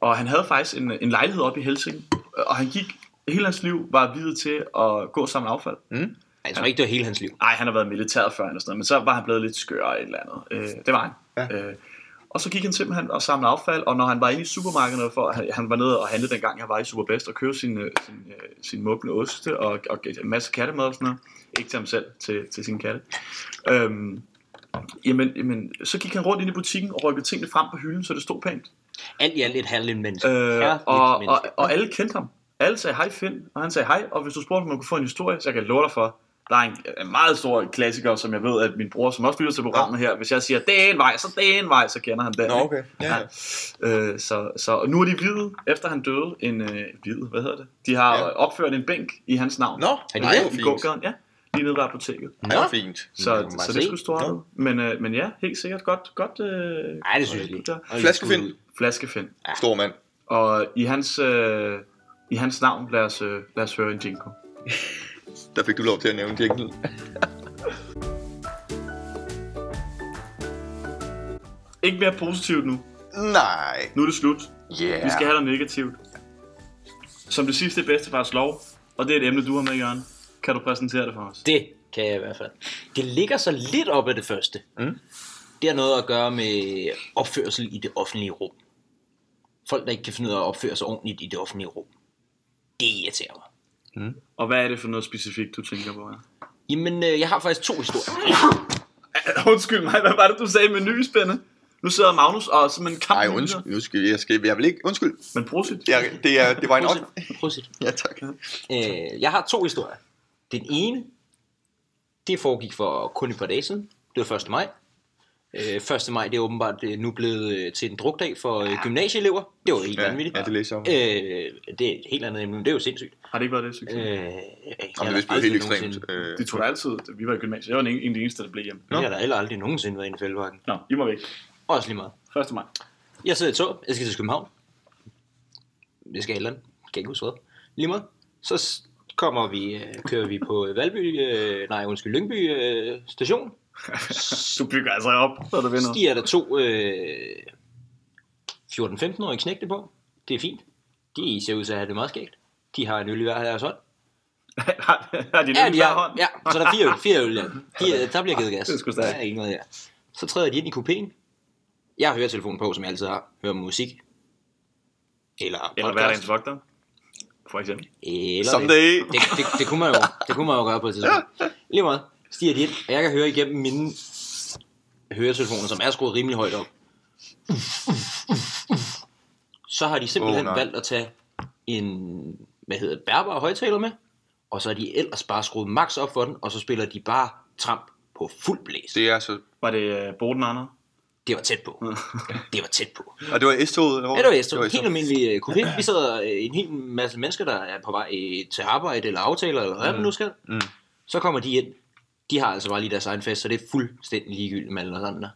Speaker 1: og han havde faktisk en, en lejlighed oppe i Helsing, og han gik hele hans liv var videt til at gå og samle affald.
Speaker 3: Jeg tror Altså, ikke, det var hele hans liv.
Speaker 1: Nej, han har været i militæret før, eller sådan noget, men så var han blevet lidt skør eller et eller andet. Øh, det var han.
Speaker 2: Ja.
Speaker 1: Ja. Øh, og så gik han simpelthen og samlede affald, og når han var inde i supermarkederne, for han, han var nede og handlede dengang, jeg var i Superbest, og købte sin, øh, sin, øh, sin mugne oste og, og en masse kattemad og sådan noget. Ikke til ham selv, til, til sin katte. Øhm, jamen, jamen, så gik han rundt ind i butikken og rykkede tingene frem på hylden, så det stod pænt.
Speaker 3: Alt i alt et halvt en menneske.
Speaker 1: Øh,
Speaker 3: Herligt
Speaker 1: og, og,
Speaker 3: menneske.
Speaker 1: og alle kendte ham. Alle sagde hej Finn, og han sagde hej. Og hvis du spurgte, om man kunne få en historie, så jeg kan love dig for, der er en, en meget stor klassiker, som jeg ved, at min bror, som også lytter til programmet her, hvis jeg siger, det er en vej, så det er en vej, så kender han den.
Speaker 2: Nå,
Speaker 1: ikke?
Speaker 2: okay. Ja, ja.
Speaker 1: Øh, så, så og nu er de videt, efter han døde, en øh, videt, hvad hedder det? De har
Speaker 2: Ja.
Speaker 1: ja. opført en bænk i hans navn.
Speaker 2: Nå,
Speaker 3: de
Speaker 2: nej,
Speaker 3: det?
Speaker 2: hvor
Speaker 1: I
Speaker 2: fint.
Speaker 1: gågaden, ja. Lige nede ved apoteket.
Speaker 2: Ej, hvor fint.
Speaker 1: Så,
Speaker 3: Det kan man bare
Speaker 1: så det
Speaker 3: se.
Speaker 1: skulle stå
Speaker 2: Nå.
Speaker 1: no. men, øh, men ja, helt sikkert godt. godt øh,
Speaker 3: Nej, det synes jeg ikke.
Speaker 1: der.
Speaker 3: Hold
Speaker 2: Flaskefind.
Speaker 3: skud ud.
Speaker 1: Flaskefind.
Speaker 2: Stor mand.
Speaker 1: Og i hans, øh, i hans navn, lad os, øh, lad os høre en jingle.
Speaker 2: Der fik du lov til at nævne Dirk Knud.
Speaker 1: Ikke mere positivt nu.
Speaker 2: Nej.
Speaker 1: Nu er det slut.
Speaker 2: Yeah.
Speaker 1: Vi skal have noget negativt. Som det sidste bedstefars lov, og det er et emne, du har med, Jørgen. Kan du præsentere det for os?
Speaker 3: Det kan jeg i hvert fald. Det ligger så lidt op af det første.
Speaker 2: Mm.
Speaker 3: Det har noget at gøre med opførsel i det offentlige rum. Folk, der ikke kan finde ud af at opføre sig ordentligt i det offentlige rum. Det irriterer mig.
Speaker 1: Og hvad er det for noget specifikt, du tænker på? Her?
Speaker 3: Jamen, øh, jeg har faktisk to historier.
Speaker 1: Undskyld mig, hvad var det, du sagde med nyspænde? Nu sidder Magnus og som en kamp.
Speaker 2: Ej, undskyld, undskyld, jeg, skal, jeg vil ikke, undskyld,
Speaker 1: Men prosit.
Speaker 2: jeg, det, er, det var en op...
Speaker 3: Prosit.
Speaker 2: Ja, tak.
Speaker 3: Øh, jeg har to historier. Den ene, det foregik for kun et par dage siden. Det var 1. maj. Øh, 1. maj, det er åbenbart øh, nu blevet øh, til en drukdag for øh, gymnasieelever. Det var helt
Speaker 2: Ja,
Speaker 3: vanvittigt.
Speaker 2: ja, det læste jeg om.
Speaker 3: øh, det er et helt andet emne, men det er jo sindssygt.
Speaker 1: Har det ikke været det,
Speaker 3: Øh,
Speaker 1: succes?
Speaker 3: jeg
Speaker 2: Jamen,
Speaker 3: har
Speaker 2: det er vist blevet
Speaker 3: aldrig
Speaker 2: helt ekstremt.
Speaker 3: nogensinde-
Speaker 2: Øh,
Speaker 1: De tog det altid, da vi var i gymnasiet. Jeg var den ene, en af de eneste, der blev hjemme.
Speaker 3: Jeg har da heller aldrig nogensinde været i en fældevakken.
Speaker 1: Nå, I må væk.
Speaker 3: Også lige meget.
Speaker 1: 1. maj.
Speaker 3: Jeg sidder i et tog, jeg skal til København. Jeg skal i Halland, kan ikke huske hvad. Lige meget. Så s- kommer vi, øh, kører vi på øh, Valby, øh, nej undskyld, Lyngby øh, station.
Speaker 1: Du bygger altså op, når du vinder.
Speaker 3: Stiger der to øh, 14-15-årige knægte på. Det er fint. De ser ud til at have det meget skægt. De har en øl i hver deres hånd.
Speaker 1: Har de
Speaker 3: Ja,
Speaker 1: det i
Speaker 3: de
Speaker 1: hver
Speaker 3: har,
Speaker 1: hånd?
Speaker 3: ja, så der er fire øl, fire øl ja. de, øh, der bliver givet gas.
Speaker 1: Det er sgu
Speaker 3: der
Speaker 1: stærkt.
Speaker 3: er ikke noget her. Så træder de ind i kupéen. Jeg har høretelefonen på, som jeg altid har. Hører musik. Eller
Speaker 1: Eller
Speaker 3: podcast.
Speaker 1: hverdagens vogter. for eksempel.
Speaker 3: Eller
Speaker 2: Someday.
Speaker 3: Det, det, det, det, kunne man jo, det kunne man jo gøre på et tidspunkt. Lige meget. Stiger dit, og jeg kan høre igennem mine høretelefoner, som er skruet rimelig højt op. Så har de simpelthen
Speaker 2: Åh,
Speaker 3: oh,
Speaker 2: nej.
Speaker 3: valgt at tage en, hvad hedder det, bærbar højtaler med, og så har de ellers bare skruet max op for den, og så spiller de bare tramp på fuld blæs. Det,
Speaker 2: Det er så...
Speaker 1: Var det uh, Borden Arner?
Speaker 3: det var tæt på. det var tæt på.
Speaker 2: Og det var S-toget, eller hvor?
Speaker 3: Ja, det var Estrup.
Speaker 2: S-toget.
Speaker 3: Helt almindelig øh, covid. Vi sidder øh, en hel masse mennesker, der er på vej øh, til arbejde eller aftaler, eller hvad man nu skal.
Speaker 2: Mm.
Speaker 3: Så kommer de ind. De har altså bare lige deres egen fest, så det er fuldstændig ligegyldigt med alle os andre.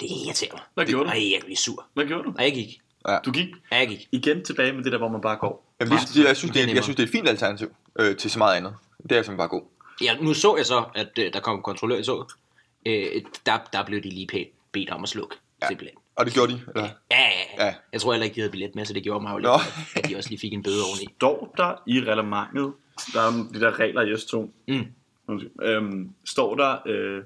Speaker 3: Det irriterer mig.
Speaker 1: Hvad gjorde du?
Speaker 3: Nej, jeg blev sur.
Speaker 1: Hvad gjorde du?
Speaker 3: Nej, jeg gik.
Speaker 1: Du gik
Speaker 3: Nej, jeg gik.
Speaker 1: igen tilbage med det der, hvor man bare går.
Speaker 2: Jamen, det, det, jeg, synes, det, er-
Speaker 3: Det er
Speaker 2: jeg
Speaker 3: nemmere.
Speaker 2: synes, det er et fint alternativ øh, til så meget andet. Det er som bare god.
Speaker 3: Ja, nu så jeg så, at øh, der kom en kontrollør i toget. Øh, der, der blev de lige pænt bedt om at slukke. Ja. Simpelthen.
Speaker 2: Og det gjorde de, eller?
Speaker 3: Ja, ja, ja.
Speaker 2: Ja.
Speaker 3: Jeg tror heller ikke, de havde billet med, så det gjorde mig jo lidt,
Speaker 2: Nå.
Speaker 3: at- at de også lige fik en bøde oveni.
Speaker 1: Står der i reglementet, der er jo de der regler i S2,
Speaker 3: Mm.
Speaker 1: Undskyld. øhm, står der, øh,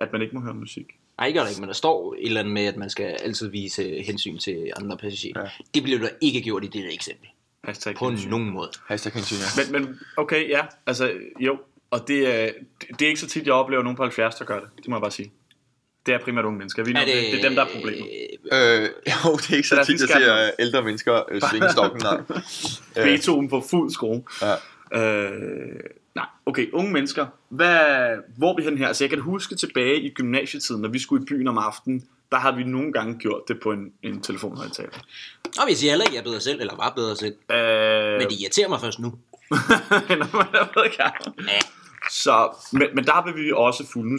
Speaker 1: at man ikke må høre musik?
Speaker 3: Nej, ikke ikke, men der står et eller andet med, at man skal altid vise hensyn til andre passagerer. Ja.
Speaker 2: Ja.
Speaker 3: Det blev der ikke gjort i det der eksempel.
Speaker 1: Hashtag
Speaker 3: På
Speaker 1: hensyn.
Speaker 3: nogen måde.
Speaker 2: Hashtag hensyn, ja.
Speaker 1: Men, men okay, ja, altså jo, og det er, det er ikke så tit, jeg oplever nogen på 70, der gør det, det må jeg bare sige. Det er primært unge mennesker, vi er, det, det, det er dem, der er problemet.
Speaker 2: Øh,
Speaker 3: Øh,
Speaker 2: jo, det er ikke
Speaker 1: Så
Speaker 2: så
Speaker 1: der
Speaker 2: tit, jeg
Speaker 1: skal
Speaker 2: ser
Speaker 1: den.
Speaker 2: øh, ældre mennesker øh, svinge stokken, nej.
Speaker 1: Øh.
Speaker 2: Øh,
Speaker 1: Beethoven på fuld skrue.
Speaker 2: ja.
Speaker 1: Øh, nej, okay, unge mennesker, hvad, hvor er vi hen her? Altså jeg kan huske tilbage i gymnasietiden, når vi skulle i byen om aftenen, der har vi nogle gange gjort det på en, en telefonhøjtaler.
Speaker 3: og hvis jeg heller ikke er bedre selv, eller var bedre selv.
Speaker 1: Øh,
Speaker 3: Men det irriterer mig først nu.
Speaker 1: når man er blevet gammel.
Speaker 3: Ja,
Speaker 1: Så, men, men der blev vi også fulde. Nu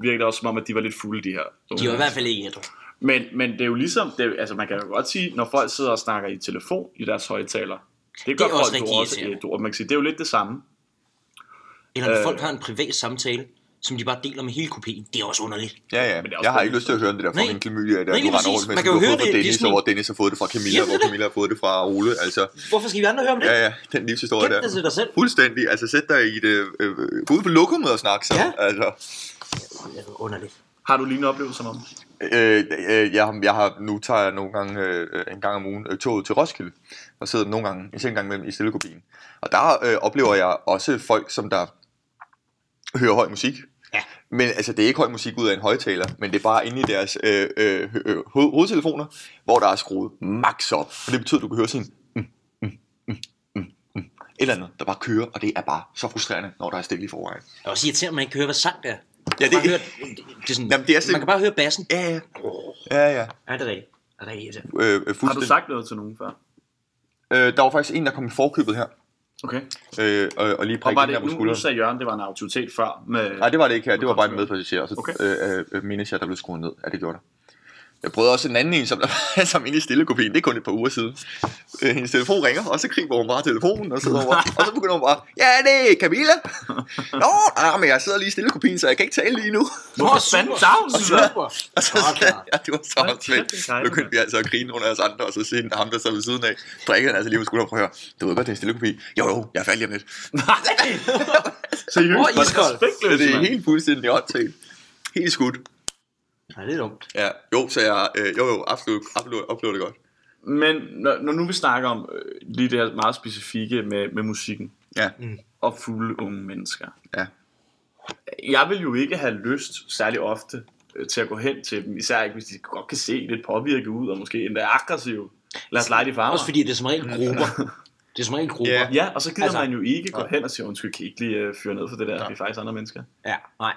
Speaker 1: virker det også som om, at de var lidt fulde, de her.
Speaker 3: de var i hvert fald ikke ædru.
Speaker 1: Men, men det er jo ligesom, det er, jo- altså man kan jo godt sige, når folk sidder og snakker i telefon i deres højtaler, det gør
Speaker 3: er også
Speaker 1: folk
Speaker 3: rigtig
Speaker 1: jo også i
Speaker 3: irriterende.
Speaker 1: et ord. Man kan sige, det er jo lidt det samme.
Speaker 3: Eller når
Speaker 1: Øh.
Speaker 3: folk har en privat samtale, som de bare deler med hele kopien. Det er også underligt.
Speaker 2: Ja, ja.
Speaker 1: Men det er også
Speaker 2: Jeg har
Speaker 1: bare
Speaker 2: ikke lyst til at høre om det der
Speaker 3: Nej.
Speaker 2: fucking klamydia, der du
Speaker 3: Nej, lige
Speaker 2: render
Speaker 3: præcis.
Speaker 2: rundt med, som
Speaker 3: Man kan
Speaker 2: du
Speaker 3: jo
Speaker 2: har
Speaker 3: høre
Speaker 2: fået fra
Speaker 3: det, det er
Speaker 2: Dennis, og
Speaker 3: sådan-
Speaker 2: hvor Dennis har fået det fra Camilla,
Speaker 3: Jamen,
Speaker 2: hvor
Speaker 3: det er-
Speaker 2: Camilla har fået det fra Ole. Altså,
Speaker 3: Hvorfor skal vi andre høre om det?
Speaker 2: ja, ja, den livshistorie
Speaker 3: Gem
Speaker 2: der.
Speaker 3: det til dig selv.
Speaker 2: Fuldstændig. Altså, sæt dig i det... Øh, øh, gå ud på lokummet og snak sammen.
Speaker 3: Ja.
Speaker 2: Altså,
Speaker 3: Det er underligt.
Speaker 1: Har du lignende oplevelser om?
Speaker 2: Øh, øh, jeg, har- jeg har, nu tager jeg nogle gange, øh, en gang om ugen, øh, toget til Roskilde, og sidder nogle gange, især en gang imellem i stillekopien. Og der øh, oplever jeg også folk, som der hører høj musik.
Speaker 3: Ja.
Speaker 2: Men altså, det er ikke høj musik ud af en højtaler, men det er bare inde i deres øh, øh, øh, hoved, hovedtelefoner, hvor der er skruet max op. Og det betyder, at du kan høre sådan mm, mm, mm, mm, mm, et eller andet, der bare kører, og det er bare så frustrerende, når der er stille i forvejen.
Speaker 3: Jeg er også irriterende, at man ikke kan høre, hvad sang det er.
Speaker 2: Ja,
Speaker 3: Man,
Speaker 2: det-
Speaker 3: kan bare høre, det er
Speaker 2: Jamen,
Speaker 3: sådan,
Speaker 2: det er
Speaker 3: man
Speaker 2: simpelthen-
Speaker 3: kan bare høre bassen.
Speaker 2: Ja, ja. Ja, ja.
Speaker 3: Ja, det er rigtigt. Det er rigtig irriterende.
Speaker 2: Øh, øh,
Speaker 1: Har du
Speaker 2: fuldstændig.
Speaker 1: sagt noget til nogen før?
Speaker 2: Øh, der var faktisk en, der kom i forkøbet her.
Speaker 1: Okay.
Speaker 2: øh, og, og lige
Speaker 1: Og
Speaker 2: prikke
Speaker 1: var
Speaker 2: den der
Speaker 1: det,
Speaker 2: på
Speaker 1: nu, nu
Speaker 2: skulderen.
Speaker 1: sagde Jørgen, det var en autoritet før. Med,
Speaker 2: Nej, det var det ikke her. Det var bare en medpassager, og så
Speaker 1: Okay.
Speaker 2: okay. øh, øh, mindes jeg, der blev skruet ned. Ja, det gjorde der. Jeg prøvede også en anden en, som, der, som inde i stillekopien. Det er kun et par uger siden. Øh, hendes telefon ringer, og så griber hun bare telefonen, og, sidder over, og så begynder hun bare, ja, det er Camilla. Nå, ah, men jeg sidder lige i stillekopien, så jeg kan ikke tale lige nu.
Speaker 1: Hvorfor fanden savner du det?
Speaker 3: super.
Speaker 2: Og så
Speaker 3: Nå,
Speaker 2: okay.
Speaker 3: klar.
Speaker 2: ja, det var så
Speaker 1: Hold kæft,
Speaker 2: åndssvagt.
Speaker 1: det er dejligt,
Speaker 2: Nu begyndte vi altså at grine under os andre, og så siger ham, der sad ved siden af, drikkede han altså lige på skulderen, prøv at høre, du ved godt, det er en stillekopi. Jo, jo, jeg er færdig om lidt.
Speaker 1: Seriøst,
Speaker 3: Hvor
Speaker 1: hvor
Speaker 3: iskoldt.
Speaker 2: Så
Speaker 1: respektløst,
Speaker 2: det er
Speaker 1: mand.
Speaker 2: helt fuldstændig åndssvagt. Helt skudt.
Speaker 3: Nej, det er dumt.
Speaker 2: Ja, jo, så jeg, øh, jo, jo, absolut, absolut oplever det godt.
Speaker 1: Men når, når nu vi snakker om øh, lige det her meget specifikke med, med musikken,
Speaker 2: Ja,
Speaker 3: Mm.
Speaker 1: og fulde unge mennesker.
Speaker 2: Ja.
Speaker 1: Jeg vil jo ikke have lyst særlig ofte øh, til at gå hen til dem, især ikke hvis de godt kan se lidt påvirket ud, og måske endda aggressiv. Lad os lege de farver.
Speaker 3: Også fordi det er som regel grupper. Det er som regel grupper.
Speaker 2: Mm. Ja.
Speaker 3: Yeah.
Speaker 1: Ja, og så gider altså,
Speaker 3: Altså-
Speaker 1: man jo ikke gå hen og sige, undskyld, kan I ikke lige øh, fyre ned for det der,
Speaker 2: Nej.
Speaker 1: vi er faktisk andre mennesker.
Speaker 3: Ja, nej.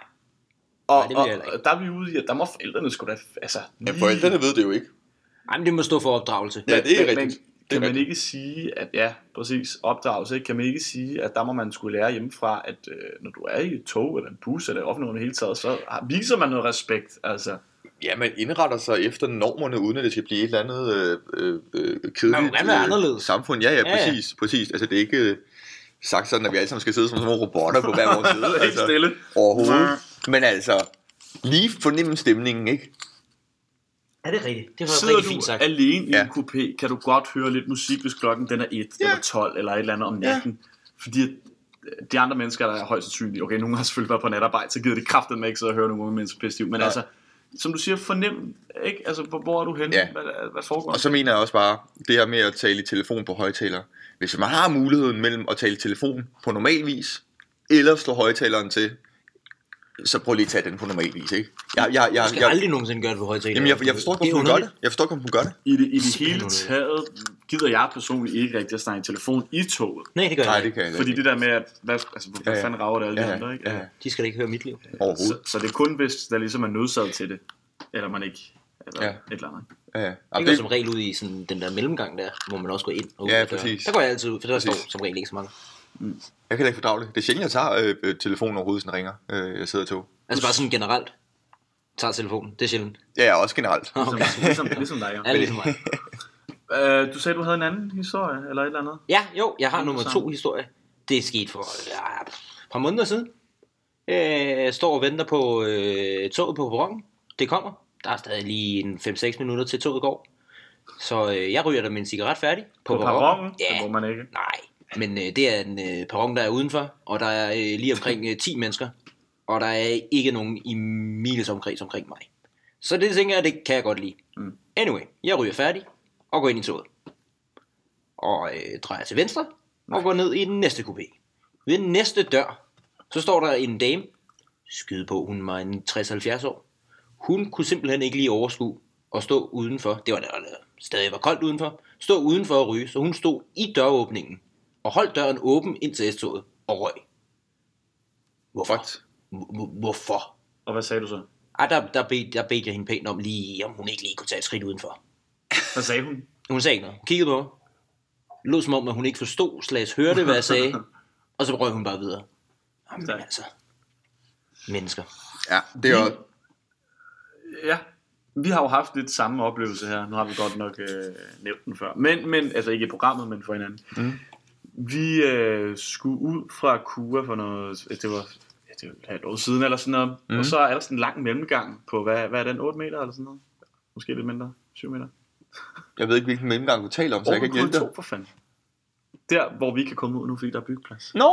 Speaker 1: Og,
Speaker 3: det vil
Speaker 1: og,
Speaker 3: jeg heller ikke.
Speaker 1: og der er vi ude i, at der må forældrene sgu da, altså...
Speaker 2: ja
Speaker 1: lige-
Speaker 2: forældrene ved det jo ikke.
Speaker 3: Ej, men det må stå for opdragelse.
Speaker 2: Ja, det er
Speaker 1: Men- men
Speaker 2: rigtigt. Det er
Speaker 1: Kan man
Speaker 2: rigtigt.
Speaker 1: ikke sige, at ja, præcis, opdragelse, ikke? kan man ikke sige, at der må man skulle lære hjemmefra, at øh, når du er i et tog eller en bus eller offentlig under hele taget, så har- viser man noget respekt, altså.
Speaker 2: Ja, man indretter sig efter normerne, uden at det skal blive et eller andet øh, øh, øh, kedeligt
Speaker 3: gerne være anderledes.
Speaker 2: samfund. Ja, ja,
Speaker 3: Ja, ja.
Speaker 2: præcis, præcis. Altså, det er ikke øh, sagt sådan, at vi alle sammen skal sidde som sådan nogle robotter på hver vores side.
Speaker 1: Helt
Speaker 2: altså,
Speaker 1: stille.
Speaker 2: Overhovedet. Men altså, lige fornemme stemningen, ikke?
Speaker 3: Ja, det er rigtigt. Det var
Speaker 1: Sidder
Speaker 3: rigtig fint
Speaker 1: du
Speaker 3: sagt.
Speaker 1: alene i
Speaker 2: Ja.
Speaker 1: en coupé, kan du godt høre lidt musik, hvis klokken den er 1
Speaker 2: Ja.
Speaker 1: eller 12 eller et eller andet om natten. Fordi at, øh, de andre mennesker, der er højst sandsynligt, okay, nogen har selvfølgelig været på natarbejde, så gider det kraftet med ikke sidde og høre nogle unge mennesker pisse men
Speaker 2: Nej.
Speaker 1: altså, som du siger, fornem, ikke? Altså, hvor, hvor er du henne?
Speaker 2: Ja.
Speaker 1: Hvad, hvad foregår?
Speaker 2: Og så mener jeg også bare, det her med at tale i telefon på højtaler. Hvis man har muligheden mellem at tale i telefon på normal vis, eller slå højtaleren til, så prøv lige at tage den på normal vis, ikke? Jeg, jeg, jeg,
Speaker 3: Du skal
Speaker 2: jeg,
Speaker 3: aldrig nogensinde gøre det på højtaler.
Speaker 2: jamen, jeg, jeg forstår ikke,
Speaker 3: er
Speaker 2: hvorfor hun gør det.
Speaker 3: underligt.
Speaker 2: Jeg forstår ikke, hvorfor hun gør det.
Speaker 1: I det, i det hele
Speaker 3: Spændende.
Speaker 1: taget gider jeg personligt ikke rigtig at snakke i telefon i toget.
Speaker 3: Nej, det gør
Speaker 2: Nej,
Speaker 3: jeg
Speaker 2: det
Speaker 3: ikke.
Speaker 2: kan jeg
Speaker 1: Fordi
Speaker 2: ikke.
Speaker 1: det der med, at hvad, altså, hvor- hvad
Speaker 2: Ja, ja.
Speaker 1: fanden rager det alle
Speaker 2: Ja,
Speaker 1: de
Speaker 2: ja,
Speaker 1: andre, ikke?
Speaker 2: ja, ja.
Speaker 3: De skal da ikke høre mit liv.
Speaker 1: Så,
Speaker 2: Overhovedet.
Speaker 1: så det er kun, hvis der ligesom er nødsaget til det. Eller man ikke... Eller
Speaker 2: Ja.
Speaker 1: ja. et eller andet.
Speaker 2: Ja, ja.
Speaker 3: Jeg
Speaker 2: Jamen,
Speaker 3: går som
Speaker 2: det,
Speaker 3: regel ud i sådan den der mellemgang der, hvor man også går ind og ud.
Speaker 2: Ja,
Speaker 3: af døren.
Speaker 2: præcis.
Speaker 3: Der går jeg altid ud, for der står
Speaker 2: Præcis.
Speaker 3: som regel ikke så mange.
Speaker 2: jeg kan da ikke fordrage det. Det er sjældent, jeg tager øh, øh, telefonen overhovedet, sådan ringer. Øh, jeg sidder i tog.
Speaker 3: Altså bare sådan generelt. Tager telefonen, det er sjældent.
Speaker 2: Ja, ja, også generelt.
Speaker 1: Ligesom,
Speaker 3: Okay.
Speaker 1: ligesom, ligesom dig, ja.
Speaker 3: Er det ligesom mig?
Speaker 1: Øh, du sagde, du havde en anden historie, eller et eller andet.
Speaker 3: Ja, jo, jeg har nummer
Speaker 1: Interessant.
Speaker 3: to historie. Det er sket for ja, et par måneder siden. Jeg står og venter på øh, toget på perronen. Det kommer. Der er stadig lige en 5-6 minutter til toget går. Så øh, jeg ryger da min cigaret færdig på,
Speaker 1: På perronen, ja. det
Speaker 3: Ja,
Speaker 1: må man ikke.
Speaker 3: nej. Men øh, det er en øh, perron, der er udenfor, og der er øh, lige omkring øh, 10 mennesker. Og der er ikke nogen i miles omkreds omkring mig. Så det tænker jeg, det kan jeg godt lide.
Speaker 1: Mm.
Speaker 3: Anyway, jeg ryger færdig og går ind i toget. Og øh, drejer til venstre og går ned i den næste kupé. Ved den næste dør, så står der en dame. Skyd på, hun var en 60-70 år. Hun kunne simpelthen ikke lige overskue at stå udenfor. Det var da der stadig var koldt udenfor. Stå udenfor og ryge, så hun stod i døråbningen og holdt døren åben ind til S-toget og røg. Hvorfor?
Speaker 2: What?
Speaker 3: Hvor- hvor- Hvorfor?
Speaker 1: Og hvad sagde du så?
Speaker 3: Ej, der, der, bed, der bed jeg hende pænt om lige, om hun ikke lige kunne tage et skridt udenfor.
Speaker 1: Hvad sagde hun?
Speaker 3: Hun sagde ikke noget. Hun kiggede på mig. Lod som om, at hun ikke forstod, slags hørte, hvad jeg sagde. og så røg hun bare videre. Jamen
Speaker 1: Stærkt.
Speaker 3: altså. Mennesker.
Speaker 2: Ja, det er også...
Speaker 1: Ja, vi har jo haft lidt samme oplevelse her. Nu har vi godt nok øh, nævnt den før. Men, men, altså ikke i programmet, men for hinanden.
Speaker 2: Mm.
Speaker 1: Vi øh, skulle ud fra Kura for noget, altså, det var, ja, det var et halvt år siden eller sådan noget.
Speaker 2: Mm.
Speaker 1: Mm. Og så er der sådan en lang mellemgang på, hvad, hvad er den, 8 meter eller sådan noget? Måske lidt mindre, 7 meter.
Speaker 2: Jeg ved ikke, hvilken mellemgang du taler om, så jeg kan ikke hjælpe dig.
Speaker 1: to, for fanden. Der, hvor vi ikke kan komme ud nu, fordi der er byggeplads.
Speaker 2: Nå,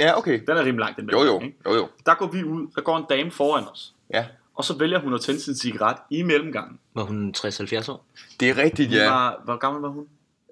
Speaker 2: ja, okay.
Speaker 1: Den er rimelig langt, den
Speaker 2: Jo, jo,
Speaker 1: mellemgang, ikke?
Speaker 2: jo, jo.
Speaker 1: Der går vi ud, der går en dame foran os.
Speaker 2: Ja,
Speaker 1: Og så vælger hun at tænde sin cigaret i mellemgangen.
Speaker 3: Var hun 60-70 år?
Speaker 2: det er rigtigt,
Speaker 1: Hun
Speaker 2: ja.
Speaker 1: var, hvor gammel var hun?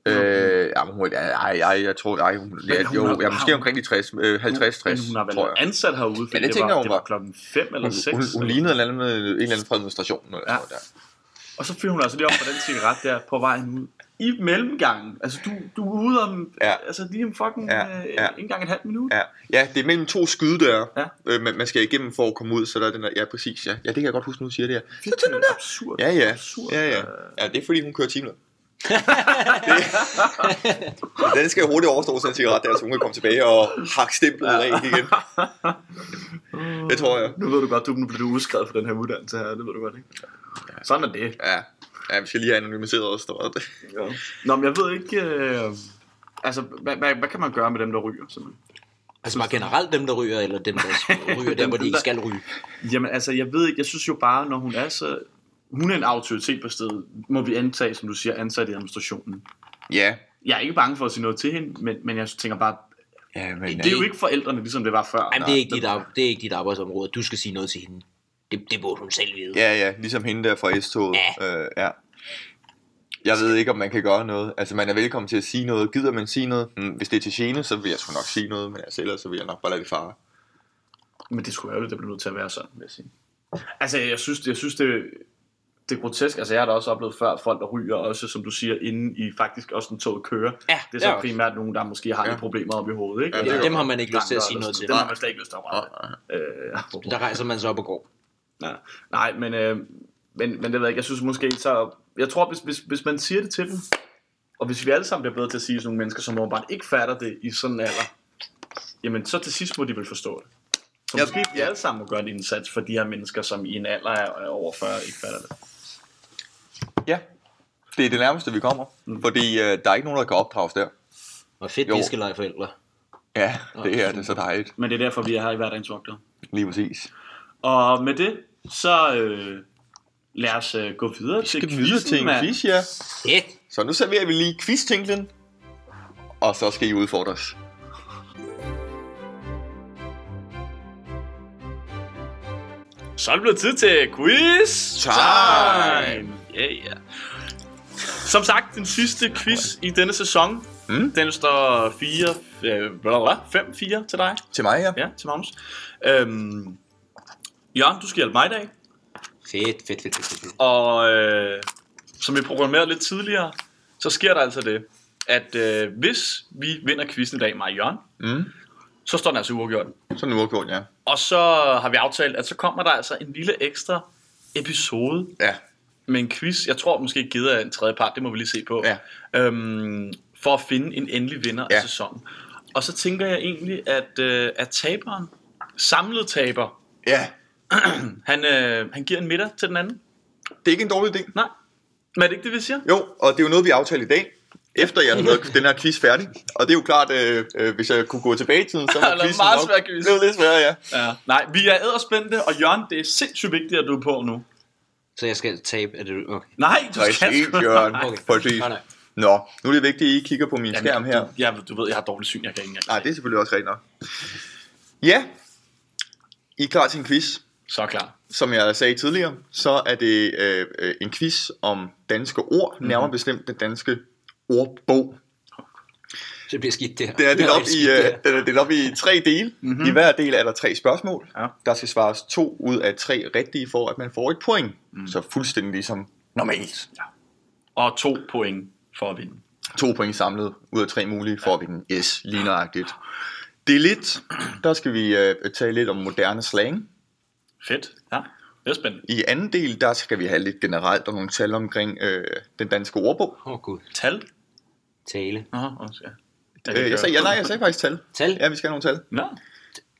Speaker 2: Øh, jamen, hun, ej, ej, jeg tror, ej, hun, ja,
Speaker 1: hun
Speaker 2: jo,
Speaker 1: har-
Speaker 2: ja, måske omkring de 60, øh, 50-60,
Speaker 1: Men hun har
Speaker 2: tror
Speaker 1: været
Speaker 2: jeg.
Speaker 1: ansat herude, for
Speaker 2: Ja, det
Speaker 1: det, det,
Speaker 2: tænker
Speaker 1: var,
Speaker 2: jeg, hun
Speaker 1: det var
Speaker 2: var.
Speaker 1: klokken 5 eller
Speaker 2: Hun,
Speaker 1: 6.
Speaker 2: hun, hun lignede en eller anden, med, en eller anden fra administrationen, eller
Speaker 1: Ja.
Speaker 2: ja. sådan noget der.
Speaker 1: Og så fyrer hun altså lige op på den cigaret der på vejen ud. I mellemgangen. Altså, du, du er ude om...
Speaker 2: Ja.
Speaker 1: Ja. Altså, lige om fucking...
Speaker 2: Ja,
Speaker 1: Ja. Øh,
Speaker 2: ja.
Speaker 1: ikke engang en halv minut. Ja.
Speaker 2: Ja. ja, det er mellem to skydedøre, ja.
Speaker 1: Ja.
Speaker 2: øh, man, man skal igennem for at komme ud, så der er den der, ja, præcis, ja. ja, det kan jeg godt huske, nu du siger det her. Så tænd nu der!
Speaker 1: øh, Absurd.
Speaker 2: Ja, ja,
Speaker 1: Absurd.
Speaker 2: ja, ja.
Speaker 1: øh,
Speaker 2: Ja, det er fordi, hun kører timeløn. Det- den skal hurtigt overstå sådan en cigaret der, så altså, hun kan komme tilbage og hakke stemplet af igen. Det tror jeg.
Speaker 1: Nu ved du godt, du nu bliver du udskrevet fra den her uddannelse her. Det ved du godt, ikke? Sådan er det.
Speaker 2: Ja, ja vi skal lige have anonymiseret os. Der. var det.
Speaker 1: Ja. Nå, men jeg ved ikke... Øh, altså, hvad, hvad, hvad, kan man gøre med dem, der ryger? Simpelthen?
Speaker 3: Altså bare generelt dem, der ryger, eller dem, der ryger, dem, hvor de ikke skal ryge.
Speaker 1: Jamen altså, jeg ved ikke, jeg synes jo bare, når hun er så... Hun er en autoritet på stedet, må vi antage, som du siger, ansat i administrationen.
Speaker 2: Ja,
Speaker 1: Jeg er ikke bange for at sige noget til hende, men, men jeg tænker bare,
Speaker 2: ja men,
Speaker 1: det er jo ikke forældrene, ligesom det var før.
Speaker 3: Jamen, det er, ikke dit, ar- det er ikke dit arbejdsområde. Du skal sige noget til hende. Det, det burde hun selv vide.
Speaker 2: Ja, ja, ligesom hende der fra S-toget. Ja. Øh, ja. Jeg ved ikke, om man kan gøre noget. Altså, man er velkommen til at sige noget. Gider man sige noget? Mm, hvis det er til gene, så vil jeg sgu nok sige noget. Men altså, ellers så vil jeg nok bare lade det fare.
Speaker 1: Men det skulle ærgerligt, det blev nødt til at være sådan, vil jeg sige. Altså, jeg synes, jeg synes det, det er grotesk. Altså, jeg har da også oplevet før, at folk, der ryger, også som du siger, inden i faktisk også en tog kører.
Speaker 3: Ja,
Speaker 1: det er
Speaker 3: ja,
Speaker 1: så
Speaker 3: også.
Speaker 1: primært nogen, der måske har
Speaker 2: Ja.
Speaker 1: ja. lidt problemer op i hovedet. Ikke? Ja,
Speaker 2: Ja, det er
Speaker 1: Eller,
Speaker 2: jo-
Speaker 3: Dem har man ikke lyst til at sige noget til.
Speaker 1: Dem har man slet ikke lyst til at røre. Øh, apropos.
Speaker 3: Der rejser man så op og går.
Speaker 1: Nej, nej men, øh, men, men det ved jeg ikke. Jeg synes måske så... Jeg tror, hvis, hvis, hvis man siger det til dem, og hvis vi alle sammen bliver bedre til at sige sådan nogle mennesker, som åbenbart ikke fatter det i sådan en alder, jamen så til sidst må de vel forstå det. Så
Speaker 2: Ja.
Speaker 1: måske vi alle sammen må gøre en indsats for de her mennesker, som i en alder er over 40 ikke fatter det.
Speaker 2: Ja, det er det nærmeste, vi kommer. Mm. Fordi øh, der er ikke nogen, der kan opdrages der.
Speaker 3: Og fedt,
Speaker 2: Jo.
Speaker 3: vi skal lege forældre.
Speaker 2: Ja, det er det er så dejligt.
Speaker 1: Men det er derfor, vi er her i hverdagens vogter.
Speaker 2: Lige præcis.
Speaker 1: Og med det, så øh, lad os øh, gå videre
Speaker 2: Vi skal
Speaker 1: til
Speaker 2: videre til en
Speaker 1: mand.
Speaker 2: quiz, ja.
Speaker 3: Fedt.
Speaker 2: Så nu serverer vi lige quiz-tinklen. Og så skal I udfordres.
Speaker 1: Så er det blevet tid til quiz time! Ja, yeah, ja. Yeah. Som sagt, den sidste quiz i denne sæson.
Speaker 2: Mm.
Speaker 1: Den står 4, øh, blablabla, 5-4 til dig.
Speaker 2: Til mig, ja.
Speaker 1: Ja, til Magnus. Øhm, Jørgen, du skal hjælpe mig i dag.
Speaker 3: Fedt, fedt, fedt, fedt, fedt, fedt.
Speaker 1: Og øh, som vi programmerede lidt tidligere, så sker der altså det, at øh, hvis vi vinder quizzen i dag, mig og Jørgen,
Speaker 2: Mm.
Speaker 1: så står den altså uafgjort.
Speaker 2: Sådan en uafgjort, ja.
Speaker 1: Og så har vi aftalt, at så kommer der altså en lille ekstra episode
Speaker 2: Ja,
Speaker 1: med en quiz. Jeg tror måske givet af en tredje part, det må vi lige se på.
Speaker 2: Ja.
Speaker 1: Øhm, for at finde en endelig vinder ja.
Speaker 2: Ja.
Speaker 1: af sæsonen. Og så tænker jeg egentlig, at, øh, at taberen, samlet taber,
Speaker 2: ja.
Speaker 1: han, øh, han giver en middag til den anden.
Speaker 2: Det er ikke en dårlig idé.
Speaker 1: Nej. Men er det ikke det, vi siger?
Speaker 2: Jo, og det er jo noget, vi aftalte i dag. Efter jeg havde lavet den her quiz færdig. Og det er jo klart, øh, øh, hvis jeg kunne gå tilbage i tiden, så var
Speaker 1: Det var
Speaker 2: quizzen
Speaker 1: meget
Speaker 2: nok-
Speaker 1: svær quiz.
Speaker 2: Det var lidt svært, ja.
Speaker 1: Ja. Nej, vi er æderspændte, og Jørgen, det er sindssygt vigtigt, at du er på nu.
Speaker 3: Så jeg skal tabe, er det okay?
Speaker 1: Nej, du skal
Speaker 2: Præcis,
Speaker 1: sgu-
Speaker 2: Jørgen.
Speaker 3: Okay.
Speaker 2: Præcis.
Speaker 3: Nej, nej.
Speaker 2: Nå, nu er det vigtigt, at I kigger på min
Speaker 1: Jamen,
Speaker 2: skærm her.
Speaker 1: Du, jeg, du ved, jeg har dårligt syn, jeg kan ikke engang.
Speaker 2: Nej, det er selvfølgelig også rigtigt nok. Ja, I er klar til en quiz.
Speaker 1: Så klar.
Speaker 2: Som jeg sagde tidligere, så er det øh, øh, en quiz om danske ord, mm-hmm. nærmere bestemt den danske ordbog.
Speaker 3: Det bliver skidt det her.
Speaker 2: Den er delt op,
Speaker 3: rigtig
Speaker 2: i,
Speaker 3: skidt,
Speaker 2: øh,
Speaker 3: det her.
Speaker 2: den er delt op i tre dele. Mm-hmm. I hver del er der tre spørgsmål.
Speaker 1: Ja.
Speaker 2: Der skal svares to ud af tre rigtige, for at man får et point. Mm. Så fuldstændig ligesom normalt.
Speaker 1: Og to point for at vinde.
Speaker 2: To point samlet ud af tre mulige, får vi den yes, lige nøjagtigt. Det er lidt, der skal vi øh, tale lidt om moderne slang.
Speaker 1: Fedt. Ja, det er spændende.
Speaker 2: I anden del, der skal vi have lidt generelt og nogle tal omkring øh, den danske ordbog.
Speaker 3: Åh, oh, gud.
Speaker 1: Tal?
Speaker 3: Tale.
Speaker 1: Aha, okay.
Speaker 2: Øh, jeg, sagde, ja, nej, jeg sagde faktisk tal.
Speaker 3: Tal?
Speaker 2: Ja, vi skal have nogle tal.
Speaker 1: Nå,